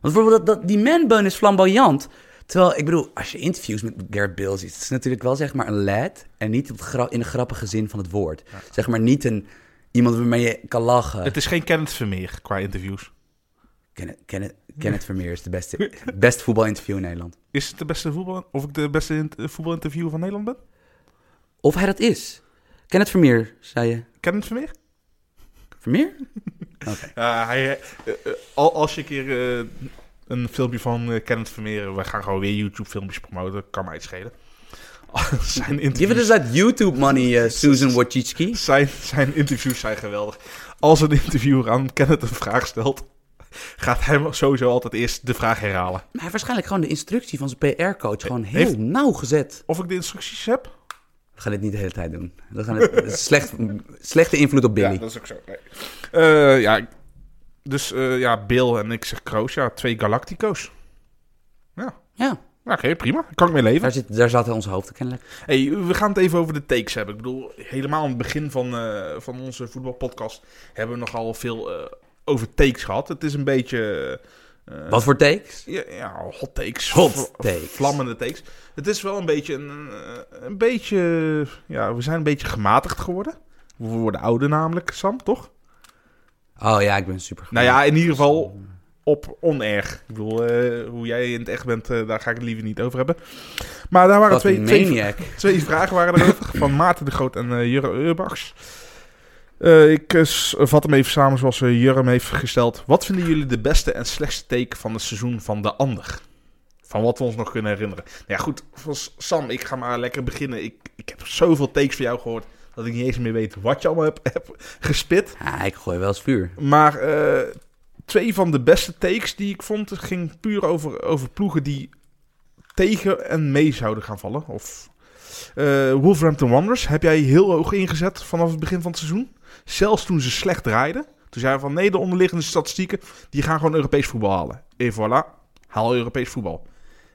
Speaker 1: Want bijvoorbeeld dat, dat, die manbun is flamboyant. Terwijl, ik bedoel, als je interviews met Garrett Bill ziet... het is natuurlijk wel zeg maar een lad... en niet op het gra- in de grappige zin van het woord. Zeg maar niet een, iemand waarmee je kan lachen.
Speaker 2: Het is geen Kenneth Vermeer qua interviews.
Speaker 1: Kenneth, Kenneth, Kenneth Vermeer is de beste, beste voetbalinterview in Nederland.
Speaker 2: Is het de beste voetbal, of ik de beste in- voetbalinterviewer van Nederland ben?
Speaker 1: Of hij dat is. Kenneth Vermeer, zei je.
Speaker 2: Kenneth Vermeer?
Speaker 1: Vermeer?
Speaker 2: Ja, hij, eh, eh, al- als je een keer eh, een filmpje van eh, Kenneth Vermeer... We gaan gewoon weer YouTube-filmpjes promoten. Kan mij het schelen. [laughs] zijn,
Speaker 1: Give it
Speaker 2: interviews,
Speaker 1: us that YouTube money, eh, Susan Wojcicki.
Speaker 2: zijn, zijn interviews zijn geweldig. Als een interviewer aan Kenneth een vraag stelt... gaat hij sowieso altijd eerst de vraag herhalen.
Speaker 1: Maar hij heeft waarschijnlijk gewoon de instructie van zijn PR-coach gewoon heel
Speaker 2: Heeft-
Speaker 1: nauwgezet.
Speaker 2: Of ik de instructies heb?
Speaker 1: We gaan dit niet de hele tijd doen. We gaan het, het is slecht, slechte invloed op Billy.
Speaker 2: Ja, dat is ook zo. Nee. Eh, ja, ik- dus eh, ja, Bill en ik zeg Kroos. Ja, twee Galactico's.
Speaker 1: Ja,
Speaker 2: Ja, Oké, prima. Kan ik mee leven.
Speaker 1: daar, zit, daar zaten onze hoofden kennelijk.
Speaker 2: Hey, we gaan het even over de takes hebben. Ik bedoel, helemaal aan het begin van, eh, van onze voetbalpodcast hebben we nogal veel eh, over takes gehad. Het is een beetje... eh,
Speaker 1: Wat voor takes?
Speaker 2: Ja, ja, hot takes.
Speaker 1: Hot
Speaker 2: Vla-
Speaker 1: takes.
Speaker 2: Vlammende takes. Het is wel een beetje een, eh, een beetje... Ja, we zijn een beetje gematigd geworden. We worden ouder namelijk, Sam, toch?
Speaker 1: Oh ja, ik ben super.
Speaker 2: Nou ja, in ieder geval op onerg. Ik bedoel, eh, hoe jij in het echt bent, eh, daar ga ik het liever niet over hebben. Maar daar waren
Speaker 1: Wat
Speaker 2: twee,
Speaker 1: een
Speaker 2: twee,
Speaker 1: maniac.
Speaker 2: Twee vragen waren erover van Maarten de Groot en eh Jurre Urbachs. Eh, ik eh, s- vat hem even samen zoals eh, Jurre hem heeft gesteld. Wat vinden jullie de beste en slechtste teken van het seizoen van de ander? Van wat we ons nog kunnen herinneren. Nou ja, goed, van S- Sam, ik ga maar lekker beginnen. Ik, ik heb zoveel takes van jou gehoord dat ik niet eens meer weet wat je allemaal hebt, hebt gespit.
Speaker 1: Ah, ik gooi wel eens vuur.
Speaker 2: Maar eh, twee van de beste takes die ik vond, het ging puur over, over ploegen die tegen en mee zouden gaan vallen. Of, eh, Wolverhampton Wanderers heb jij heel hoog ingezet vanaf het begin van het seizoen. Zelfs toen ze slecht draaiden. Toen zei je van nee, de onderliggende statistieken, die gaan gewoon Europees voetbal halen. En voilà, haal Europees voetbal.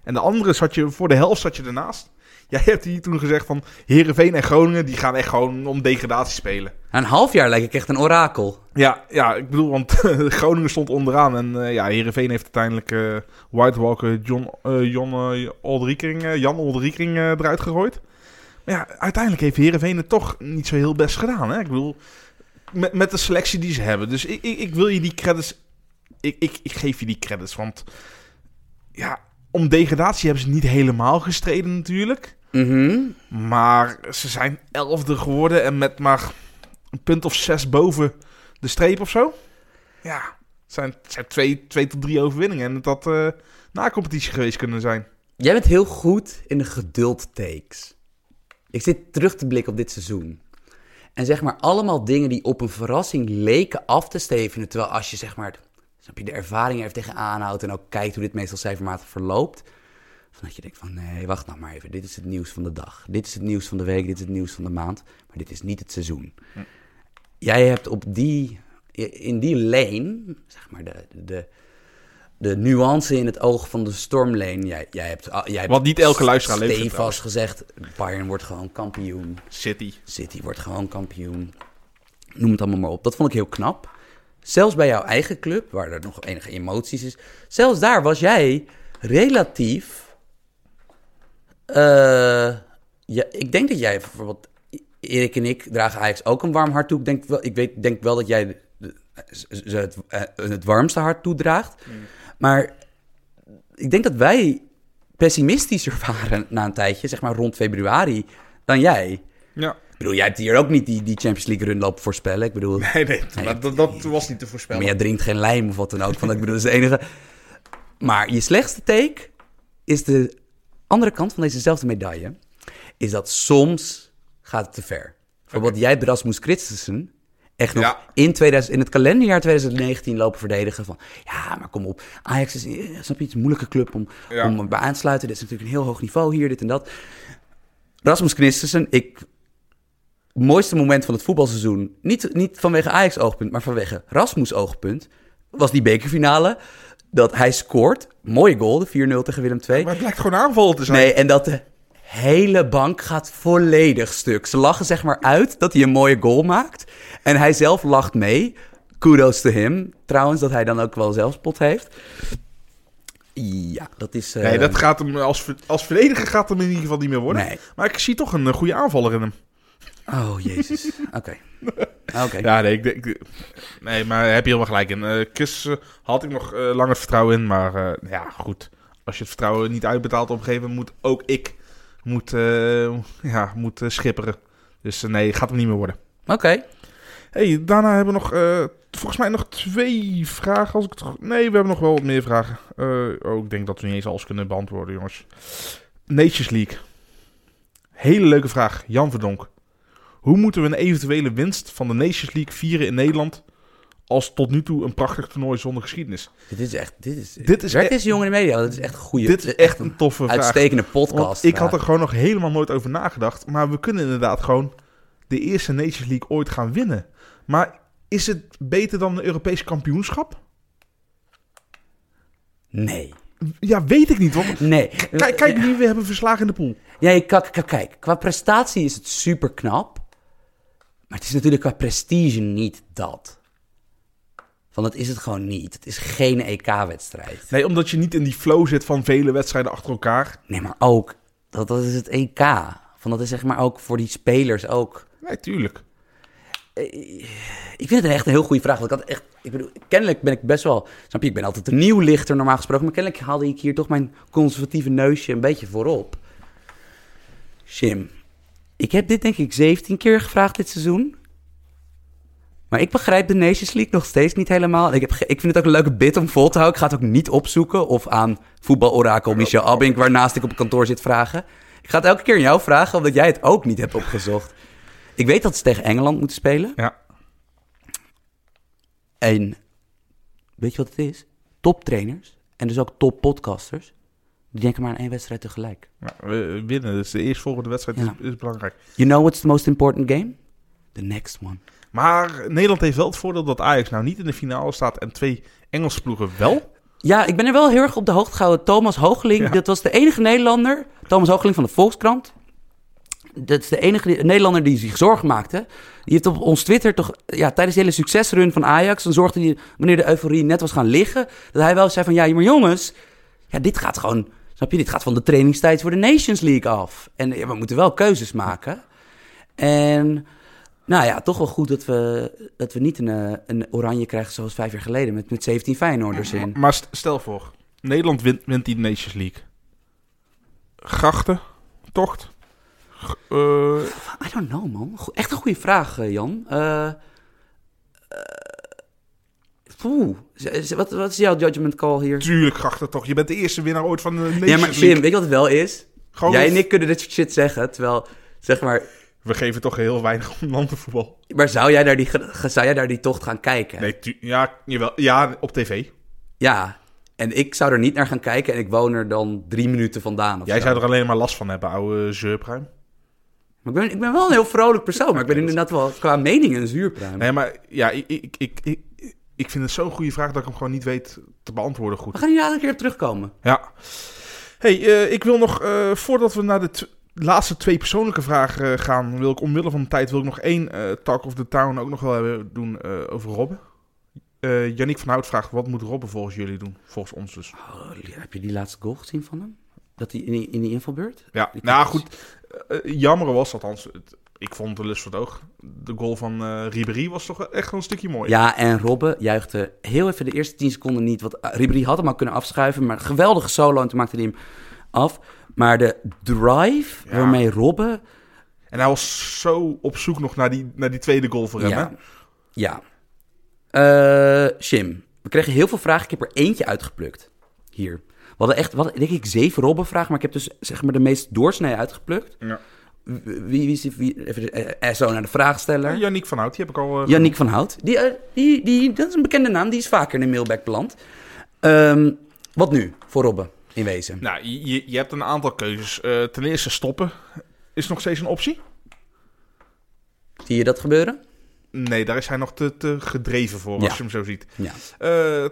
Speaker 2: En de andere zat je, voor de helft zat je ernaast. Jij hebt hier toen gezegd van Herenveen en Groningen, die gaan echt gewoon om degradatie spelen.
Speaker 1: Na een half jaar lijk ik echt een orakel.
Speaker 2: Ja, ja, ik bedoel, want [laughs] Groningen stond onderaan. En eh, ja, Heerenveen heeft uiteindelijk eh White Walker John, eh, John, eh, Oldriekering, eh, Jan Oldriekering eh, eruit gegooid. Maar ja, uiteindelijk heeft Heerenveen het toch niet zo heel best gedaan. Hè? Ik bedoel, met, met de selectie die ze hebben. Dus ik, ik, ik wil je die credits... Ik, ik, ik geef je die credits, want... Ja, om degradatie hebben ze niet helemaal gestreden natuurlijk.
Speaker 1: Mhm.
Speaker 2: Maar ze zijn elfde geworden en met maar een punt of zes boven de streep of zo. Ja, het zijn, het zijn twee, twee tot drie overwinningen. En dat had eh, na competitie geweest kunnen zijn.
Speaker 1: Jij bent heel goed in de geduld takes. Ik zit terug te blikken op dit seizoen. En zeg maar allemaal dingen die op een verrassing leken af te stevenen. Terwijl als je zeg maar, snap je, de ervaring er even tegenaan houdt en ook kijkt hoe dit meestal cijfermatig verloopt. Van dat je denkt van nee, wacht nou maar even. Dit is het nieuws van de dag. Dit is het nieuws van de week. Dit is het nieuws van de maand. Maar dit is niet het seizoen. Jij hebt op die in die leen, zeg maar de, de, de nuance in het oog van de stormleen. Jij, jij hebt, ah, jij hebt
Speaker 2: Wat niet elke luisteraar leeft, trouwens.
Speaker 1: stevast gezegd, Bayern wordt gewoon kampioen.
Speaker 2: City.
Speaker 1: City wordt gewoon kampioen. Noem het allemaal maar op. Dat vond ik heel knap. Zelfs bij jouw eigen club, waar er nog enige emoties is. Zelfs daar was jij relatief. eh, ja, ik denk dat jij bijvoorbeeld. Erik en ik dragen Ajax ook een warm hart toe. Ik denk wel, ik weet, denk wel dat jij de- de- ze het, eh, het warmste hart toedraagt. Maar ik denk dat wij pessimistischer [laughs] waren na een tijdje, zeg maar rond februari, dan jij.
Speaker 2: Ja.
Speaker 1: Ik bedoel, jij hebt hier ook niet die, die Champions League run lopen voorspellen. Ik bedoel,
Speaker 2: Nee, nee, maar dat, dat was niet te
Speaker 1: maar
Speaker 2: voorspellen.
Speaker 1: jij drinkt geen lijm of wat dan ook. Want ik bedoel, dat is de enige. Maar je slechtste take is de andere kant van dezezelfde medaille. Is dat soms gaat het te ver. Bijvoorbeeld, jij hebt Rasmus Christensen echt nog
Speaker 2: Ja.
Speaker 1: in, 2000, in het kalenderjaar 2019 lopen verdedigen van... Ja, maar kom op, Ajax is, eh, snap je, het is een moeilijke club om,
Speaker 2: Ja.
Speaker 1: om bij aan te sluiten. Dit is natuurlijk een heel hoog niveau hier, dit en dat. Rasmus Christensen, ik mooiste moment van het voetbalseizoen, niet, niet vanwege Ajax oogpunt, maar vanwege Rasmus oogpunt, was die bekerfinale. Dat hij scoort, mooie goal, de 4-0 tegen Willem II.
Speaker 2: Maar het blijkt gewoon aanvallen te zijn.
Speaker 1: Nee, en dat de hele bank gaat volledig stuk. Ze lachen zeg maar uit dat hij een mooie goal maakt. En hij zelf lacht mee. Kudos to him. Trouwens, dat hij dan ook wel zelfspot heeft. Ja, dat is... eh,
Speaker 2: Nee, dat gaat hem als, ver- als verdediger gaat hem in ieder geval niet meer worden.
Speaker 1: Nee.
Speaker 2: Maar ik zie toch een eh, goede aanvaller in hem.
Speaker 1: Oh, jezus. Oké.
Speaker 2: [laughs]
Speaker 1: Oké.
Speaker 2: Ja, nee, ik denk. ik- Nee, maar daar heb je helemaal gelijk in. Eh Chris eh, had ik nog eh, langer vertrouwen in, maar eh, ja, goed. Als je het vertrouwen niet uitbetaalt op een gegeven moment, moet ook ik moet, eh, ja, moet eh, schipperen. Dus eh, nee, gaat hem niet meer worden.
Speaker 1: Oké.
Speaker 2: hey, daarna hebben we nog, eh, volgens mij nog twee vragen. Als ik het goed... Nee, we hebben nog wel wat meer vragen. Eh, oh, ik denk dat we niet eens alles kunnen beantwoorden, jongens. Nations League. Hele leuke vraag, Jan Verdonk. Hoe moeten we een eventuele winst van de Nations League vieren in Nederland... als tot nu toe een prachtig toernooi zonder geschiedenis?
Speaker 1: Dit is echt... Dit is,
Speaker 2: Dit is,
Speaker 1: Werk
Speaker 2: e-
Speaker 1: is jong in de media. Dat is echt een goede...
Speaker 2: dit is e- echt een toffe vraag.
Speaker 1: uitstekende
Speaker 2: Want
Speaker 1: podcast.
Speaker 2: ik had er gewoon nog helemaal nooit over nagedacht. Maar we kunnen inderdaad gewoon de eerste Nations League ooit gaan winnen. Maar is het beter dan een Europees kampioenschap?
Speaker 1: Nee.
Speaker 2: Ja, weet ik niet. Want
Speaker 1: Nee.
Speaker 2: kijk, kijk wie we hebben verslagen in de pool.
Speaker 1: Ja, je- kijk, kijk, kijk, qua prestatie is het super knap. Maar het is natuurlijk qua prestige niet dat. Want dat is het gewoon niet. Het is geen E EK-wedstrijd.
Speaker 2: Nee, omdat je niet in die flow zit van vele wedstrijden achter elkaar.
Speaker 1: Nee, maar ook, dat, dat is het EK. Van dat is zeg maar ook voor die spelers ook.
Speaker 2: Nee, tuurlijk.
Speaker 1: Ik vind het echt een heel goede vraag. Want ik had echt, ik bedoel, kennelijk ben ik best wel, snap je, ik ben altijd een nieuw lichter normaal gesproken. Maar kennelijk haalde ik hier toch mijn conservatieve neusje een beetje voorop. Jim, ik heb dit denk ik 17 keer gevraagd dit seizoen. Maar ik begrijp de Nations League nog steeds niet helemaal. Ik, heb ge- ik vind het ook een leuke bit om vol te houden. Ik ga het ook niet opzoeken of aan voetbalorakel Michel Abink, waarnaast ik op kantoor zit, vragen. Ik ga het elke keer aan jou vragen, omdat jij het ook niet hebt opgezocht. Ik weet dat ze tegen Engeland moeten spelen.
Speaker 2: Ja.
Speaker 1: En weet je wat het is? Toptrainers en dus ook toppodcasters, die denken maar aan één wedstrijd tegelijk.
Speaker 2: Ja, we winnen, dus de eerstvolgende wedstrijd
Speaker 1: Ja.
Speaker 2: is, is belangrijk.
Speaker 1: You know what's the most important game? The next one.
Speaker 2: Maar Nederland heeft wel het voordeel dat Ajax nou niet in de finale staat en twee Engelse ploegen wel.
Speaker 1: Ja, ik ben er wel heel erg op de hoogte gehouden. Thomas Hoogeling,
Speaker 2: Ja.
Speaker 1: dat was de enige Nederlander. Thomas Hoogeling van de Volkskrant. Dat is de enige Nederlander die zich zorgen maakte. Die heeft op ons Twitter toch, ja, tijdens de hele succesrun van Ajax, dan zorgde hij, wanneer de euforie net was gaan liggen, dat hij wel zei van, ja, maar jongens, ja, dit gaat gewoon, snap je, dit gaat van de trainingstijd voor de Nations League af. En ja, we moeten wel keuzes maken. En nou ja, toch wel goed dat we, dat we niet een, eh, een oranje krijgen zoals vijf jaar geleden met, met 17 Feyenoorders in.
Speaker 2: Maar st- stel voor, Nederland wint, wint die Nations League. Grachten, tocht. G- eh,
Speaker 1: I don't know, man. Go- Echt een goede vraag, eh, Jan. Eh eh, poeh. Z- z- wat, wat is jouw judgment call hier?
Speaker 2: tuurlijk grachten, toch. Je bent de eerste winnaar ooit van de Nations
Speaker 1: Ja, maar Jim,
Speaker 2: League.
Speaker 1: weet je wat het wel is?
Speaker 2: Gewoon
Speaker 1: Jij
Speaker 2: eens-
Speaker 1: en ik kunnen dit soort shit zeggen, terwijl, zeg maar...
Speaker 2: We geven toch heel weinig om landenvoetbal.
Speaker 1: Maar zou jij naar die, ge- ge- zou jij naar die tocht gaan kijken?
Speaker 2: Nee, tu- ja, jawel, ja, op tv.
Speaker 1: Ja. En ik zou er niet naar gaan kijken en ik woon er dan drie minuten vandaan of
Speaker 2: Jij
Speaker 1: zo.
Speaker 2: zou er alleen maar last van hebben, oude zeurpruim.
Speaker 1: Maar ik ben, ik ben wel een heel vrolijk persoon, maar ik ben inderdaad wel qua mening een zuurpruim.
Speaker 2: Nee, maar ja, ik, ik, ik, ik, ik vind het zo'n goede vraag dat ik hem gewoon niet weet te beantwoorden goed.
Speaker 1: We gaan hier later een keer op terugkomen.
Speaker 2: Ja. Hey, eh, ik wil nog, eh, voordat we naar de tw- laatste twee persoonlijke vragen eh, gaan, wil ik omwille van de tijd, wil ik nog één eh, Talk of the Town ook nog wel hebben doen eh, over Robben. Eh Yannick van Hout vraagt, wat moet Robben volgens jullie doen? Volgens ons dus.
Speaker 1: Oh, heb je die laatste goal gezien van hem? Dat hij in die, in die invalbeurt?
Speaker 2: Ja,
Speaker 1: Ik
Speaker 2: nou
Speaker 1: heb-
Speaker 2: goed, eh, jammer was dat, althans, het- ik vond de lust voor het oog. De goal van eh Ribéry was toch wel echt wel een stukje mooi.
Speaker 1: Ja, en Robben juichte heel even de eerste 10 seconden niet. Want eh, Ribéry had hem al kunnen afschuiven, maar een geweldige solo en toen maakte hij hem af. Maar de drive
Speaker 2: Ja.
Speaker 1: waarmee Robben...
Speaker 2: En hij was zo op zoek nog naar die, naar die tweede goal voor hem, hè?
Speaker 1: Ja. ja. Eh, Jim, we kregen heel veel vragen. Ik heb er eentje uitgeplukt. Hier. We hadden echt, we hadden, denk ik, zeven Robben-vragen. Maar ik heb dus zeg maar de meest doorsnee uitgeplukt.
Speaker 2: Ja.
Speaker 1: Wie, wie is die? Wie, even eh, eh, zo naar de vraagsteller.
Speaker 2: Yannick van Hout, die heb ik al... eh,
Speaker 1: Yannick van Hout. Die, eh, die, die, dat is een bekende naam. Die is vaker in de mailback beland. Ehm, wat nu voor Robben in wezen?
Speaker 2: Nou, je, je hebt een aantal keuzes. Eh, ten eerste stoppen is nog steeds een optie.
Speaker 1: Zie je dat gebeuren?
Speaker 2: Nee, daar is hij nog te, te gedreven voor,
Speaker 1: Ja.
Speaker 2: als je hem zo ziet.
Speaker 1: Ja.
Speaker 2: Eh,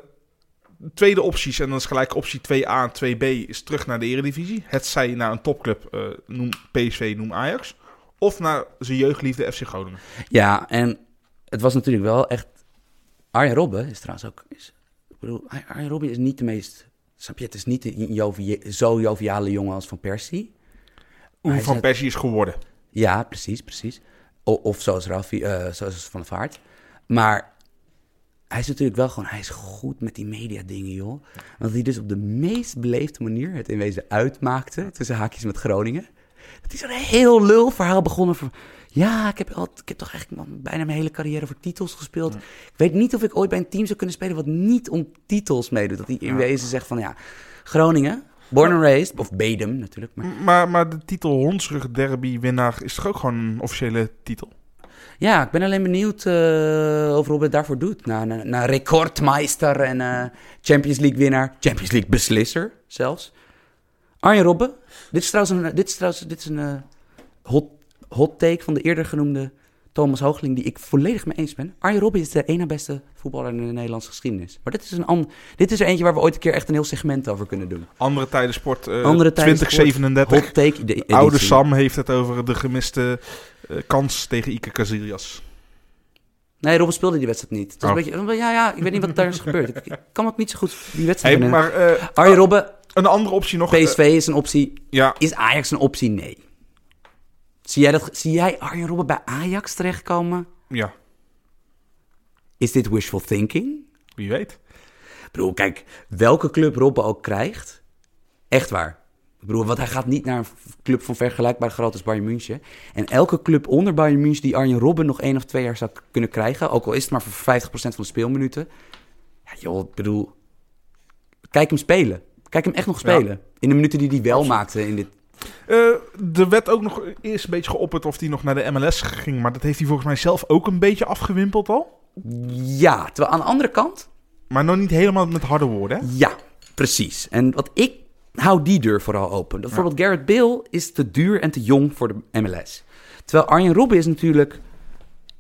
Speaker 2: tweede opties, en dan is gelijk optie 2A en 2B, is terug naar de eredivisie. Het zij naar een topclub, eh, noem PSV, noem Ajax. Of naar zijn jeugdliefde FC Groningen.
Speaker 1: Ja, en het was natuurlijk wel echt... Arjen Robben is trouwens ook... Is, ik bedoel, Ar- Arjen Robben is niet de meest... Snap je, het is niet de jovia- zo joviale jongen als Van Persie. Hij
Speaker 2: Hoe
Speaker 1: is
Speaker 2: Van
Speaker 1: net-
Speaker 2: Persie is geworden.
Speaker 1: Ja, precies, precies. O- of zoals Raffi, eh, zoals Van der Vaart. Maar hij is natuurlijk wel gewoon, hij is goed met die mediadingen, joh. Want hij dus op de meest beleefde manier het in wezen uitmaakte, tussen haakjes met Groningen. Dat is een heel lul verhaal begonnen van, ja, ik heb, al, ik heb toch eigenlijk al bijna mijn hele carrière voor titels gespeeld. Ik weet niet of ik ooit bij een team zou kunnen spelen wat niet om titels meedoet. Dat hij in wezen zegt van, ja, Groningen, born and raised, of Bedum natuurlijk, maar...
Speaker 2: M- Maar, maar de titel Hondsrug Derby winnaar is toch ook gewoon een officiële titel?
Speaker 1: Ja, ik ben alleen benieuwd eh, of Robert het daarvoor doet. Na, na, na recordmeister en eh, Champions League winnaar. Champions League beslisser zelfs. Arjen Robben. Dit is trouwens een, dit is trouwens, dit is een eh, hot, hot take van de eerder genoemde Thomas Hoogling... die ik volledig mee eens ben. Arjen Robben is de ene beste voetballer in de Nederlandse geschiedenis. Maar dit is, een an- dit is er eentje waar we ooit een keer echt een heel segment over kunnen doen.
Speaker 2: Andere tijden sport, eh,
Speaker 1: Andere tijden sport,
Speaker 2: 2037.
Speaker 1: Hot take. De,
Speaker 2: Oude
Speaker 1: editie.
Speaker 2: Sam heeft het over de gemiste eh, kans tegen Ike Casillas.
Speaker 1: Nee, Robben speelde die wedstrijd niet. Het was
Speaker 2: Oh.
Speaker 1: een beetje, ja, ja, ik weet niet wat daar is gebeurd. Ik, ik kan ook niet zo goed die wedstrijd
Speaker 2: Hey,
Speaker 1: herinneren.
Speaker 2: maar eh,
Speaker 1: Arjen Robben,
Speaker 2: een andere optie nog. eh,
Speaker 1: PSV is een optie.
Speaker 2: ja,
Speaker 1: Is Ajax een optie? Nee. Zie jij, dat, zie jij Arjen Robben bij Ajax terechtkomen?
Speaker 2: ja,
Speaker 1: Is dit wishful thinking?
Speaker 2: wie weet.
Speaker 1: Ik bedoel, kijk, welke club Robben ook krijgt, echt waar. Ik bedoel, want hij gaat niet naar een v- club van vergelijkbare grootte als Bayern München. En elke club onder Bayern München die Arjen Robben nog één of twee jaar zou k- kunnen krijgen, ook al is het maar voor 50% van de speelminuten. Ja, joh, ik bedoel, kijk hem spelen. Kijk hem echt nog
Speaker 2: Ja.
Speaker 1: spelen. In de minuten die hij wel maakte in dit
Speaker 2: Eh er werd ook nog eerst een beetje geopperd of hij nog naar de MLS ging. Maar dat heeft hij volgens mij zelf ook een beetje afgewimpeld al.
Speaker 1: Ja, terwijl aan de andere kant,
Speaker 2: Maar nog niet helemaal met harde woorden. hè?
Speaker 1: ja, precies. En wat ik hou die deur vooral open. Bijvoorbeeld Garrett Bale is te duur en te jong voor de MLS. Terwijl Arjen Robben is natuurlijk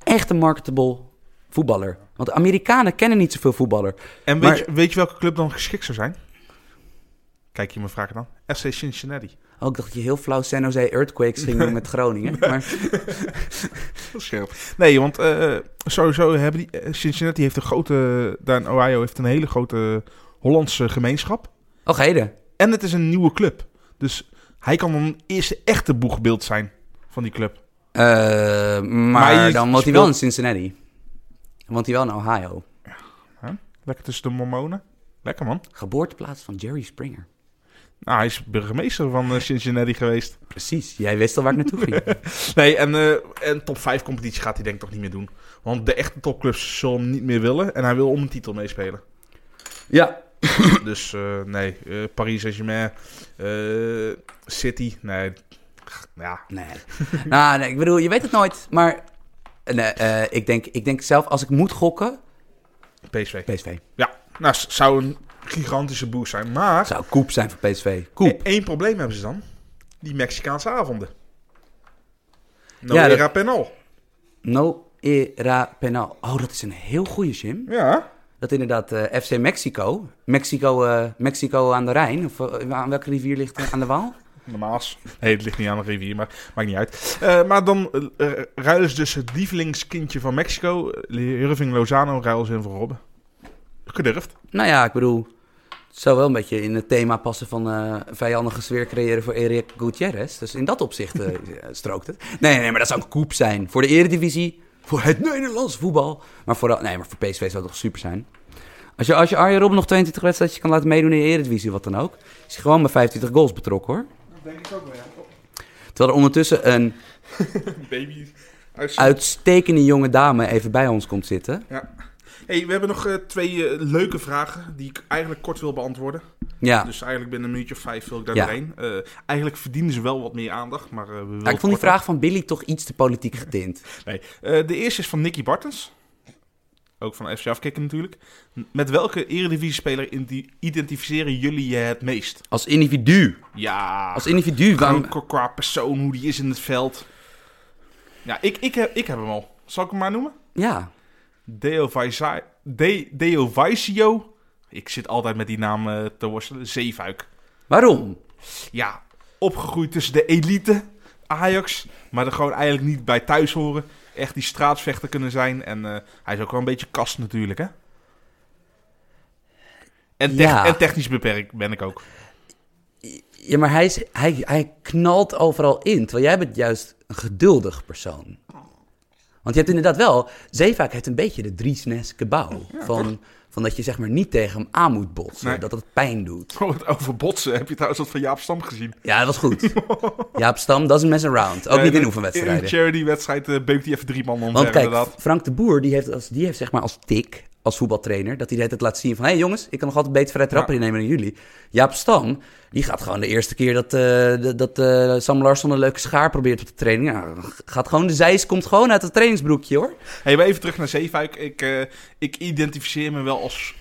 Speaker 1: echt een marketable voetballer. Want de Amerikanen kennen niet zoveel voetballer.
Speaker 2: En weet,
Speaker 1: Maar-
Speaker 2: je, weet je welke club dan geschikt zou zijn? Kijk je me vragen dan. FC Cincinnati.
Speaker 1: Oh, ik dacht dat je heel flauw San Jose Earthquakes ging [laughs] doen met Groningen. Maar
Speaker 2: Scherp. Nee, want eh, sowieso hebben die... eh, Cincinnati heeft een grote... Daar in Ohio heeft een hele grote Hollandse gemeenschap.
Speaker 1: oh, Gede.
Speaker 2: En het is een nieuwe club. Dus hij kan dan het eerste echte boegbeeld zijn van die club.
Speaker 1: Eh, maar
Speaker 2: Maar je
Speaker 1: dan woont hij
Speaker 2: speelt-
Speaker 1: wel in Cincinnati. Dan woont hij wel in Ohio.
Speaker 2: Lekker tussen de mormonen. Lekker man.
Speaker 1: Geboorteplaats van Jerry Springer.
Speaker 2: Nou, hij is burgemeester van eh, Cincinnati geweest.
Speaker 1: Precies, jij wist al waar ik naartoe ging.
Speaker 2: Nee, en, eh, en top 5 competitie gaat hij denk ik toch niet meer doen. Want de echte topclubs zullen hem niet meer willen. En hij wil om een titel [clears throat] meespelen.
Speaker 1: [laughs] Ja,
Speaker 2: dus eh, nee, eh, Paris Saint-Germain, eh, City, nee. Ja,
Speaker 1: Nee. [laughs] nou, nee, ik bedoel, je weet het nooit. Maar eh, nee, eh, ik, denk, ik denk zelf, als ik moet gokken,
Speaker 2: PSV.
Speaker 1: PSV.
Speaker 2: Ja, nou, s- zou een gigantische boost zijn. Maar,
Speaker 1: Zou koep zijn
Speaker 2: E-
Speaker 1: voor PSV. Koep.
Speaker 2: één probleem hebben ze dan. Die Mexicaanse avonden. No
Speaker 1: Ja,
Speaker 2: era penal.
Speaker 1: No era penal. Oh, dat is een heel goede, Jim.
Speaker 2: Ja.
Speaker 1: Dat inderdaad eh, FC Mexico. Mexico, eh, Mexico aan de Rijn. Of eh, aan welke rivier ligt eh, aan de Waal?
Speaker 2: Normaal. Nee, het ligt niet aan een rivier, maar maakt niet uit. Eh, maar dan eh, eh, ruilen ze dus het lievelingskindje van Mexico, eh, Irving Lozano, ruilen ze in voor Robben. Gedurfd.
Speaker 1: Nou ja, ik bedoel, het zou wel een beetje in het thema passen van eh vijandige sfeer creëren voor Erik Gutierrez. Dus in dat opzicht eh, strookt het. Nee, nee, maar dat zou een koep zijn. Voor de eredivisie, voor het Nederlands voetbal. Maar voor, nee, maar voor PSV zou het toch super zijn. Als je, als je Arjen Robben nog 22 wedstrijdjes kan laten meedoen in de eredivisie, wat dan ook. Is hij gewoon bij 25 goals betrokken hoor.
Speaker 2: Dat denk ik ook wel,
Speaker 1: Terwijl er ondertussen een
Speaker 2: [laughs] Baby. Uit...
Speaker 1: uitstekende jonge dame even bij ons komt zitten.
Speaker 2: Ja. Hey, we hebben nog eh, twee eh, leuke vragen die ik eigenlijk kort wil beantwoorden.
Speaker 1: Ja,
Speaker 2: Dus eigenlijk binnen een minuutje of vijf wil ik daar
Speaker 1: Ja.
Speaker 2: doorheen. Eh, eigenlijk verdienen ze wel wat meer aandacht, maar eh, we willen
Speaker 1: Ja, ik vond die
Speaker 2: korter.
Speaker 1: vraag van Billy toch iets te politiek getint.
Speaker 2: Nee. Eh, de eerste is van Nicky Bartens. Ook van FC Afkikken natuurlijk. M- Met welke eredivisie-speler inti- identificeren jullie je het meest?
Speaker 1: Als individu.
Speaker 2: Ja,
Speaker 1: Als individu. Waarom,
Speaker 2: gewoon qua- qua persoon, hoe die is in het veld. Ja, ik, ik, heb, ik heb hem al. Zal ik hem maar noemen?
Speaker 1: Ja,
Speaker 2: Deo Vaisai- De- Deo Vaisio. Ik zit altijd met die naam eh, te worstelen. Zeefuik.
Speaker 1: waarom?
Speaker 2: Ja, opgegroeid tussen de elite, Ajax, maar er gewoon eigenlijk niet bij thuis horen. Echt die straatvechter kunnen zijn. En eh, hij is ook wel een beetje kast natuurlijk, hè? En, tech-
Speaker 1: Ja.
Speaker 2: en technisch beperkt ben ik [laughs] ook.
Speaker 1: Ja, maar hij, is, hij, hij knalt overal in, terwijl jij bent juist een geduldig persoon. Want je hebt inderdaad wel, Zeevaak heeft een beetje de Driesneske bouw. van, van dat je zeg maar niet tegen hem aan moet botsen,
Speaker 2: Nee.
Speaker 1: dat het pijn doet.
Speaker 2: Oh, Over botsen, heb je trouwens wat van Jaap Stam gezien?
Speaker 1: Ja, dat was goed. Jaap Stam, dat is een mess around. Ook Oh, niet in
Speaker 2: Eh, In een
Speaker 1: oefenwedstrijden.
Speaker 2: charity-wedstrijd eh, beukt hij even drie man omver,
Speaker 1: Want kijk,
Speaker 2: inderdaad.
Speaker 1: Frank de Boer, die heeft, als, die heeft zeg maar als tik, als voetbaltrainer, dat hij het laat zien van... hé hey jongens, ik kan nog altijd beter vrij trappen innemen dan jullie. Jaap Stam, die gaat gewoon de eerste keer dat, eh, de- dat eh, Sam Larsson een leuke schaar probeert op de training. Ja, gaat gewoon, de zeis komt gewoon uit het trainingsbroekje hoor.
Speaker 2: Hey, maar even terug naar Zeefuik. Ik, eh, ik identificeer me wel als...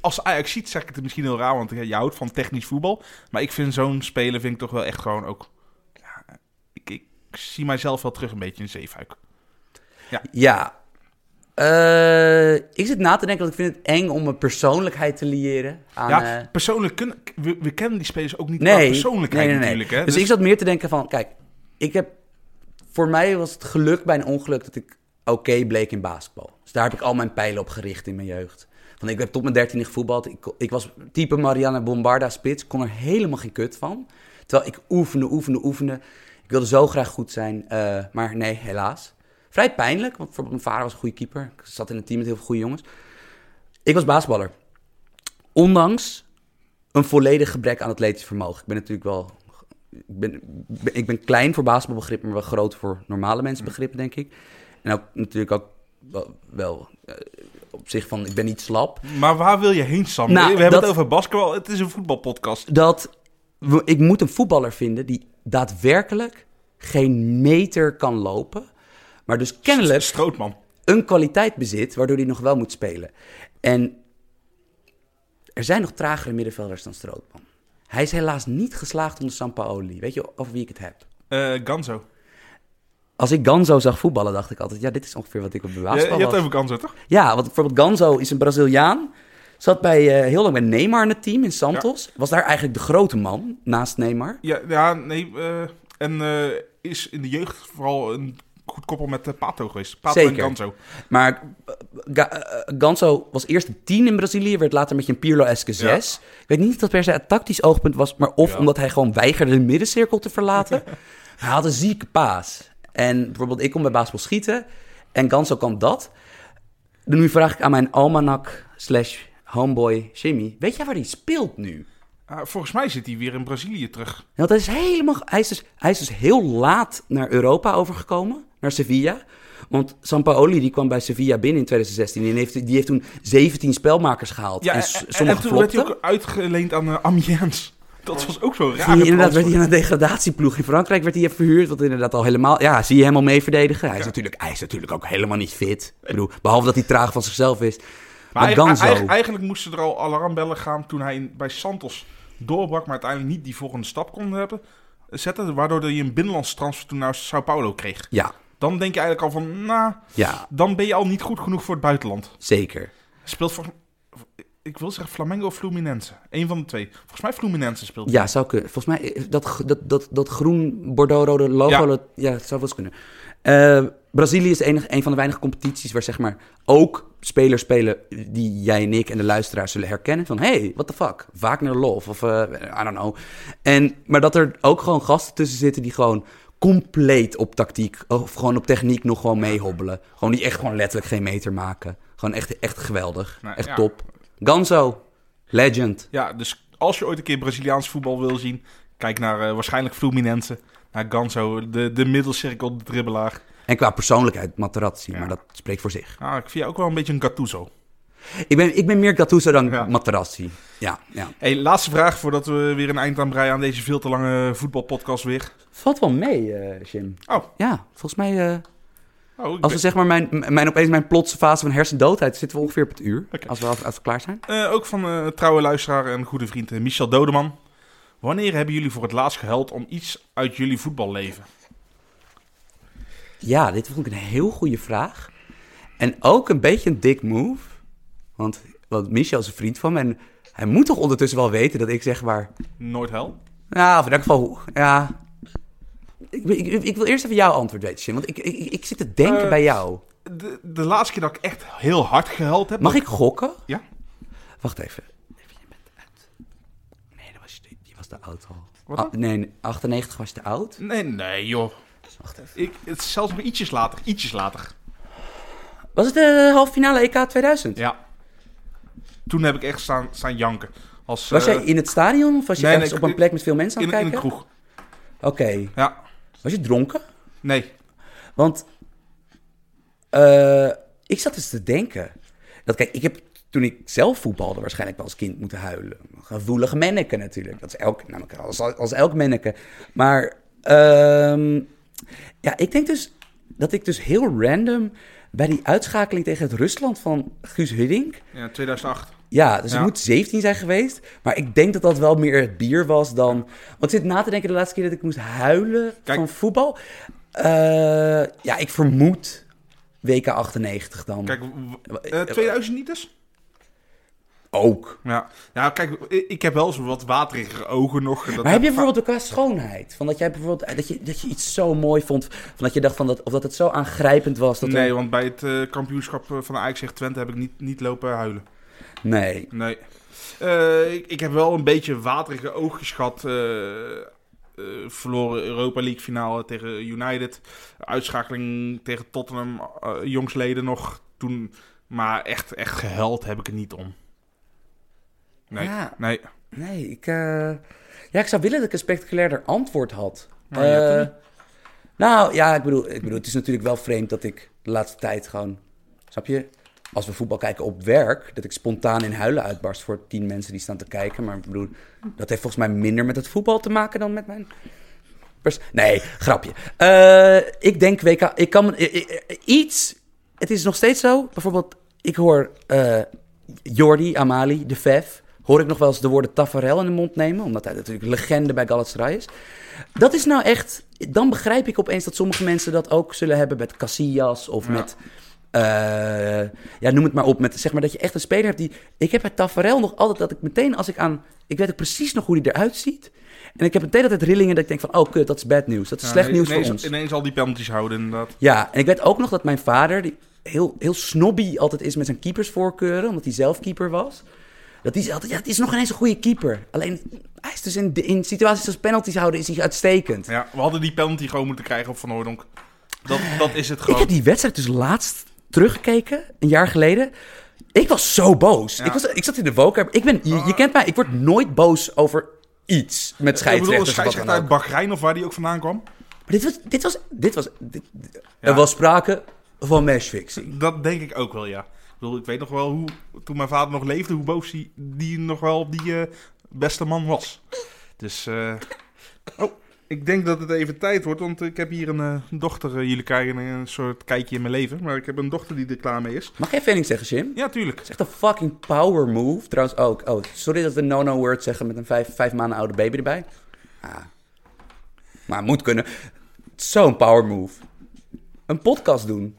Speaker 2: Als Ajax ziet, zeg ik het misschien heel raar, want je houdt van technisch voetbal. Maar ik vind zo'n speler vind ik toch wel echt gewoon ook... Ja, ik, ik zie mijzelf wel terug een beetje in Zeefuik.
Speaker 1: Ja, Eh, ik zit na te denken, want ik vind het eng om een persoonlijkheid te liëren aan...
Speaker 2: ja,
Speaker 1: eh,
Speaker 2: persoonlijk kunnen... We, we kennen die spelers ook niet
Speaker 1: nee,
Speaker 2: qua
Speaker 1: nee,
Speaker 2: persoonlijkheid
Speaker 1: nee, nee.
Speaker 2: natuurlijk. Hè?
Speaker 1: Dus, ik zat meer te denken van, kijk, ik heb... Voor mij was het geluk bij een ongeluk dat ik oké bleek in basketbal. Dus daar heb ik al mijn pijlen op gericht in mijn jeugd. Want ik heb tot mijn dertiende gevoetbald. Ik, ik was type Marianne Bombarda spits. kon er helemaal geen kut van. Terwijl ik oefende, oefende, oefende. Ik wilde zo graag goed zijn. eh, maar nee, helaas. Vrij pijnlijk, want voor mijn vader was een goede keeper. Ik zat in een team met heel veel goede jongens. Ik was basketballer. Ondanks een volledig gebrek aan atletisch vermogen. Ik ben natuurlijk wel. Ik ben, ik ben klein voor basketbalbegrip, maar wel groot voor normale mensenbegrip, denk ik. En ook natuurlijk ook wel, wel, eh, op zich van ik ben niet slap.
Speaker 2: Maar waar wil je heen, Sam?
Speaker 1: Nou,
Speaker 2: we hebben
Speaker 1: dat-
Speaker 2: het over basketbal. Het is een voetbalpodcast.
Speaker 1: Dat we- ik moet een voetballer vinden die daadwerkelijk geen meter kan lopen. Maar dus kennelijk
Speaker 2: Strootman.
Speaker 1: een kwaliteit bezit waardoor hij nog wel moet spelen. En er zijn nog tragere middenvelders dan Strootman. Hij is helaas niet geslaagd onder Sampaoli. Weet je over wie ik het heb?
Speaker 2: Eh Ganzo.
Speaker 1: Als ik Ganzo zag voetballen, dacht ik altijd... ja, dit is ongeveer wat ik op de
Speaker 2: Je, je
Speaker 1: basketbal
Speaker 2: hebt
Speaker 1: was.
Speaker 2: het over Ganzo, toch?
Speaker 1: Ja, want bijvoorbeeld Ganzo is een Braziliaan. Zat bij, eh, heel lang bij Neymar in het team, in Santos. Was daar eigenlijk de grote man, naast Neymar.
Speaker 2: Ja, ja nee. eh, en eh, is in de jeugd vooral een goed koppel met eh, Pato geweest. Pato en
Speaker 1: Zeker.
Speaker 2: Ganzo.
Speaker 1: Maar eh, Ga- eh, Ganso was eerst een 10 in Brazilië, werd later met een Pirlo-eske 6. Ik weet niet of dat per se een tactisch oogpunt was, maar of
Speaker 2: Ja.
Speaker 1: omdat hij gewoon weigerde de middencirkel te verlaten. hij had een zieke paas. En bijvoorbeeld, ik kon bij basketbal schieten en Ganso kan dat. Dan nu vraag ik aan mijn almanak slash homeboy Jimmy, weet jij waar hij speelt nu?
Speaker 2: Ah, volgens mij zit hij weer in Brazilië terug.
Speaker 1: Ja, Want hij is helemaal. Hij is, dus, hij is dus heel laat naar Europa overgekomen, naar Sevilla. Want Sampaoli die kwam bij Sevilla binnen in 2016 en heeft, die heeft toen 17 spelmakers gehaald. en s- sommige
Speaker 2: toen werd hij
Speaker 1: flopten.
Speaker 2: ook uitgeleend aan eh, Amiens. Dat was ook zo'n
Speaker 1: Die-
Speaker 2: rare
Speaker 1: inderdaad werd
Speaker 2: transfer.
Speaker 1: hij aan een degradatieploeg in Frankrijk werd hij even verhuurd. Wat inderdaad al helemaal. Ja, zie je hem al mee verdedigen? Hij, is natuurlijk, hij is natuurlijk ook helemaal niet fit. Ik bedoel, behalve dat hij traag van zichzelf is. Maar,
Speaker 2: Maar
Speaker 1: Ganzo.
Speaker 2: eigenlijk, eigenlijk moesten er al alarmbellen gaan toen hij bij Santos doorbrak, maar uiteindelijk niet die volgende stap kon hebben. eh, zetten, waardoor je een binnenlands transfer toen naar Sao Paulo kreeg.
Speaker 1: Ja,
Speaker 2: Dan denk je eigenlijk al van, nou,
Speaker 1: ja,
Speaker 2: dan ben je al niet goed genoeg voor het buitenland.
Speaker 1: zeker.
Speaker 2: Speelt volgens ik wil zeggen Flamengo of Fluminense. Eén van de twee. Volgens mij Fluminense speelt.
Speaker 1: Ja, zou kunnen. Volgens mij, eh, dat, gro- dat, dat, dat groen bordeaux-rode logo,
Speaker 2: Ja.
Speaker 1: Dat, ja, het zou wel eens kunnen. Eh, Brazilië is de enige, een van de weinige competities waar zeg maar ook spelers spelen die jij en ik en de luisteraars zullen herkennen. Van, hey, what the fuck? Wagner Love of eh, I don't know. En, maar dat er ook gewoon gasten tussen zitten die gewoon compleet op tactiek of gewoon op techniek nog gewoon meehobbelen. Gewoon die echt gewoon letterlijk geen meter maken. Gewoon echt, echt geweldig.
Speaker 2: Nou,
Speaker 1: echt
Speaker 2: ja.
Speaker 1: top. Ganso, legend.
Speaker 2: Ja, dus als je ooit een keer Braziliaans voetbal wil zien, kijk naar eh, waarschijnlijk Fluminense, naar Ganso, de, de middelcirkel, de dribbelaar.
Speaker 1: En qua persoonlijkheid Materazzi,
Speaker 2: Ja.
Speaker 1: maar dat spreekt voor zich.
Speaker 2: Nou, ik vind jou ook wel een beetje een Gattuso.
Speaker 1: Ik ben, ik ben meer Gattuso dan
Speaker 2: Ja.
Speaker 1: Materazzi. Ja, ja.
Speaker 2: Hey, laatste vraag voordat we weer een eind aan breien aan deze veel te lange voetbalpodcast weer.
Speaker 1: Valt wel mee, eh Jim.
Speaker 2: Oh.
Speaker 1: Ja, volgens mij... eh,
Speaker 2: Oh, ik
Speaker 1: als we zeg maar mijn, m- mijn, opeens mijn plotse fase van hersendoodheid... zitten we ongeveer op het uur.
Speaker 2: Oké.
Speaker 1: Als, we, als we klaar zijn.
Speaker 2: ben- eh, ook van eh, trouwe luisteraar en goede vriend eh, Michel Dodeman. Wanneer hebben jullie voor het laatst gehuild om iets uit jullie voetballeven?
Speaker 1: Ja, dit vond ik een heel goede vraag. En ook een beetje een dick move. Want, want Michel is een vriend van me. En hij moet toch ondertussen wel weten dat ik zeg maar...
Speaker 2: Nooit hel?
Speaker 1: Nou, of in elk geval... Ja, ik, ik, ik wil eerst even jouw antwoord weten, Jim. Want ik, ik, ik zit te denken
Speaker 2: Eh,
Speaker 1: bij jou.
Speaker 2: De, de laatste keer dat ik echt heel hard gehuild heb.
Speaker 1: Mag ik gokken?
Speaker 2: Ja.
Speaker 1: Wacht even. Even, Je bent uit. Nee, dat was je, je was te oud al.
Speaker 2: Wat
Speaker 1: Ah, nee, 98 was je te oud.
Speaker 2: Nee, nee, joh.
Speaker 1: Wacht even.
Speaker 2: Ik, het is zelfs nog ietsjes later. Ietsjes later.
Speaker 1: Was het de halve finale E EK 2000?
Speaker 2: Ja. Toen heb ik echt staan, staan janken. Als,
Speaker 1: Was
Speaker 2: eh,
Speaker 1: jij in het stadion of was je
Speaker 2: nee,
Speaker 1: ergens
Speaker 2: nee, ik-
Speaker 1: op een plek met veel mensen aan
Speaker 2: in,
Speaker 1: het
Speaker 2: in een
Speaker 1: kijken?
Speaker 2: kroeg?
Speaker 1: Oké.
Speaker 2: Ja.
Speaker 1: Was je dronken?
Speaker 2: Nee.
Speaker 1: Want eh, ik zat dus te denken. Dat, kijk, ik heb toen ik zelf voetbalde waarschijnlijk wel als kind moeten huilen. Een Gevoelig menneke natuurlijk. Dat is elk, namelijk als, als elk menneke. Maar ehm, ja, ik denk dus dat ik dus heel random bij die uitschakeling tegen het Rusland van Guus Hiddink...
Speaker 2: Ja, 2008.
Speaker 1: Ja, dus
Speaker 2: Ja.
Speaker 1: ik moet 17 zijn geweest. Maar ik denk dat dat wel meer het bier was dan. Want ik zit na te denken de laatste keer dat ik moest huilen
Speaker 2: Kijk.
Speaker 1: van voetbal. Eh, ja, ik vermoed WK 98 dan.
Speaker 2: Kijk, w- eh, 2000 niet dus?
Speaker 1: Ook.
Speaker 2: Ja. ja, kijk, i- ik heb wel zo wat waterige ogen nog. Dat
Speaker 1: Maar heb je
Speaker 2: ik vaak-
Speaker 1: bijvoorbeeld elkaar schoonheid? Van dat jij bijvoorbeeld eh, dat je, dat je iets zo mooi vond. Van dat je dacht van dat, of dat het zo aangrijpend was. Dat er-
Speaker 2: Nee, want bij het eh, kampioenschap eh, van Ajax tegen Twente heb ik niet, niet lopen huilen.
Speaker 1: nee.
Speaker 2: Nee. Eh, ik, ik heb wel een beetje waterige oogjes gehad. eh, eh, verloren Europa League finale tegen United. Uitschakeling tegen Tottenham. eh, jongsleden nog toen. Maar echt, echt gehuild heb ik er niet om. Nee.
Speaker 1: Ja.
Speaker 2: Nee.
Speaker 1: Nee, ik, eh, ja, ik zou willen dat ik een spectaculairder antwoord had.
Speaker 2: Maar je hebt hem
Speaker 1: Eh,
Speaker 2: niet.
Speaker 1: nou ja, ik bedoel, ik bedoel, het is natuurlijk wel vreemd dat ik de laatste tijd gewoon. Snap je? Als we voetbal kijken op werk, dat ik spontaan in huilen uitbarst voor tien mensen die staan te kijken. Maar ik bedoel, dat heeft volgens mij minder met het voetbal te maken dan met mijn. Pers nee, grapje. Eh, ik denk WK. Ik kan. me- i- i- i- iets. Het is nog steeds zo. Bijvoorbeeld, ik hoor eh, Jordi, Amali, de Vef. Hoor ik nog wel eens de woorden Tafarel in de mond nemen. Omdat hij natuurlijk legende bij Galatasaray is. Dat is nou echt. Dan begrijp ik opeens dat sommige mensen dat ook zullen hebben met Casillas of
Speaker 2: Ja.
Speaker 1: met. eh, ja, noem het maar op. Met, zeg maar dat je echt een speler hebt die. Ik heb bij Tafarel nog altijd dat ik meteen als ik aan. Ik weet ook precies nog hoe die eruit ziet. En ik heb meteen altijd rillingen dat ik denk van, oh kut, dat is bad nieuws. Dat is
Speaker 2: Ja,
Speaker 1: slecht
Speaker 2: nee,
Speaker 1: nieuws
Speaker 2: ineens,
Speaker 1: voor ons.
Speaker 2: Ineens al die penalties houden, inderdaad.
Speaker 1: Ja, en ik weet ook nog dat mijn vader, die heel, heel snobby altijd is met zijn keepersvoorkeuren, omdat hij zelf keeper was. Dat hij zei altijd, ja, het is nog ineens een goede keeper. Alleen, hij is dus in, in situaties als penalties houden, is hij uitstekend.
Speaker 2: Ja, we hadden die penalty gewoon moeten krijgen op Van Hooydonk. Dat, dat is
Speaker 1: [laughs]
Speaker 2: het
Speaker 1: Ik
Speaker 2: gewoon.
Speaker 1: heb die wedstrijd dus laatst teruggekeken, een jaar geleden. Ik was zo boos.
Speaker 2: Ja. Ah.
Speaker 1: Ik, was, ik zat in de woonkamer. Ik ben, je, je kent mij, ik word nooit boos over iets met
Speaker 2: Ik bedoel, de
Speaker 1: scheidsrechters. of wat dan
Speaker 2: scheidsrechter
Speaker 1: ook.
Speaker 2: uit Bahrein of waar die ook vandaan kwam.
Speaker 1: Maar dit was. Dit was, dit was dit-
Speaker 2: Ja.
Speaker 1: Er was sprake van matchfixing.
Speaker 2: Dat denk ik ook wel, ja. Ik bedoel, ik weet nog wel hoe, toen mijn vader nog leefde, hoe boos die, die nog wel die eh, beste man was. Dus, eh, oh, ik denk dat het even tijd wordt, want ik heb hier een eh, dochter. eh, jullie krijgen een soort kijkje in mijn leven, maar ik heb een dochter die er klaar mee is.
Speaker 1: Mag jij even één ding zeggen, Jim? Het
Speaker 2: Ja, tuurlijk.
Speaker 1: is echt een fucking power move. Trouwens ook. Oh, sorry dat we no-no word zeggen met een vijf, vijf maanden oude baby erbij. Ah. Maar moet kunnen. Zo'n power move. Een podcast doen.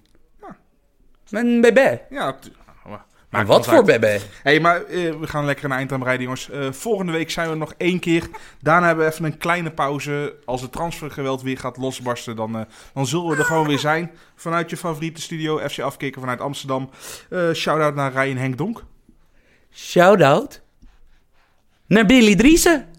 Speaker 1: Met een bebé.
Speaker 2: Ja, tu- maar
Speaker 1: Maar
Speaker 2: maakt
Speaker 1: wat
Speaker 2: ons
Speaker 1: voor
Speaker 2: uit.
Speaker 1: bebé?
Speaker 2: hey, maar eh, we gaan lekker een eind aan rijden, jongens. Eh, volgende week zijn we nog één keer. Daarna hebben we even een kleine pauze. Als het transfergeweld weer gaat losbarsten, dan, eh, dan zullen we er gewoon weer zijn. Vanuit je favoriete studio, FC Afkikken vanuit Amsterdam. Eh Shout-out naar Ryan Henk Donk.
Speaker 1: Shout-out naar Billy Driessen.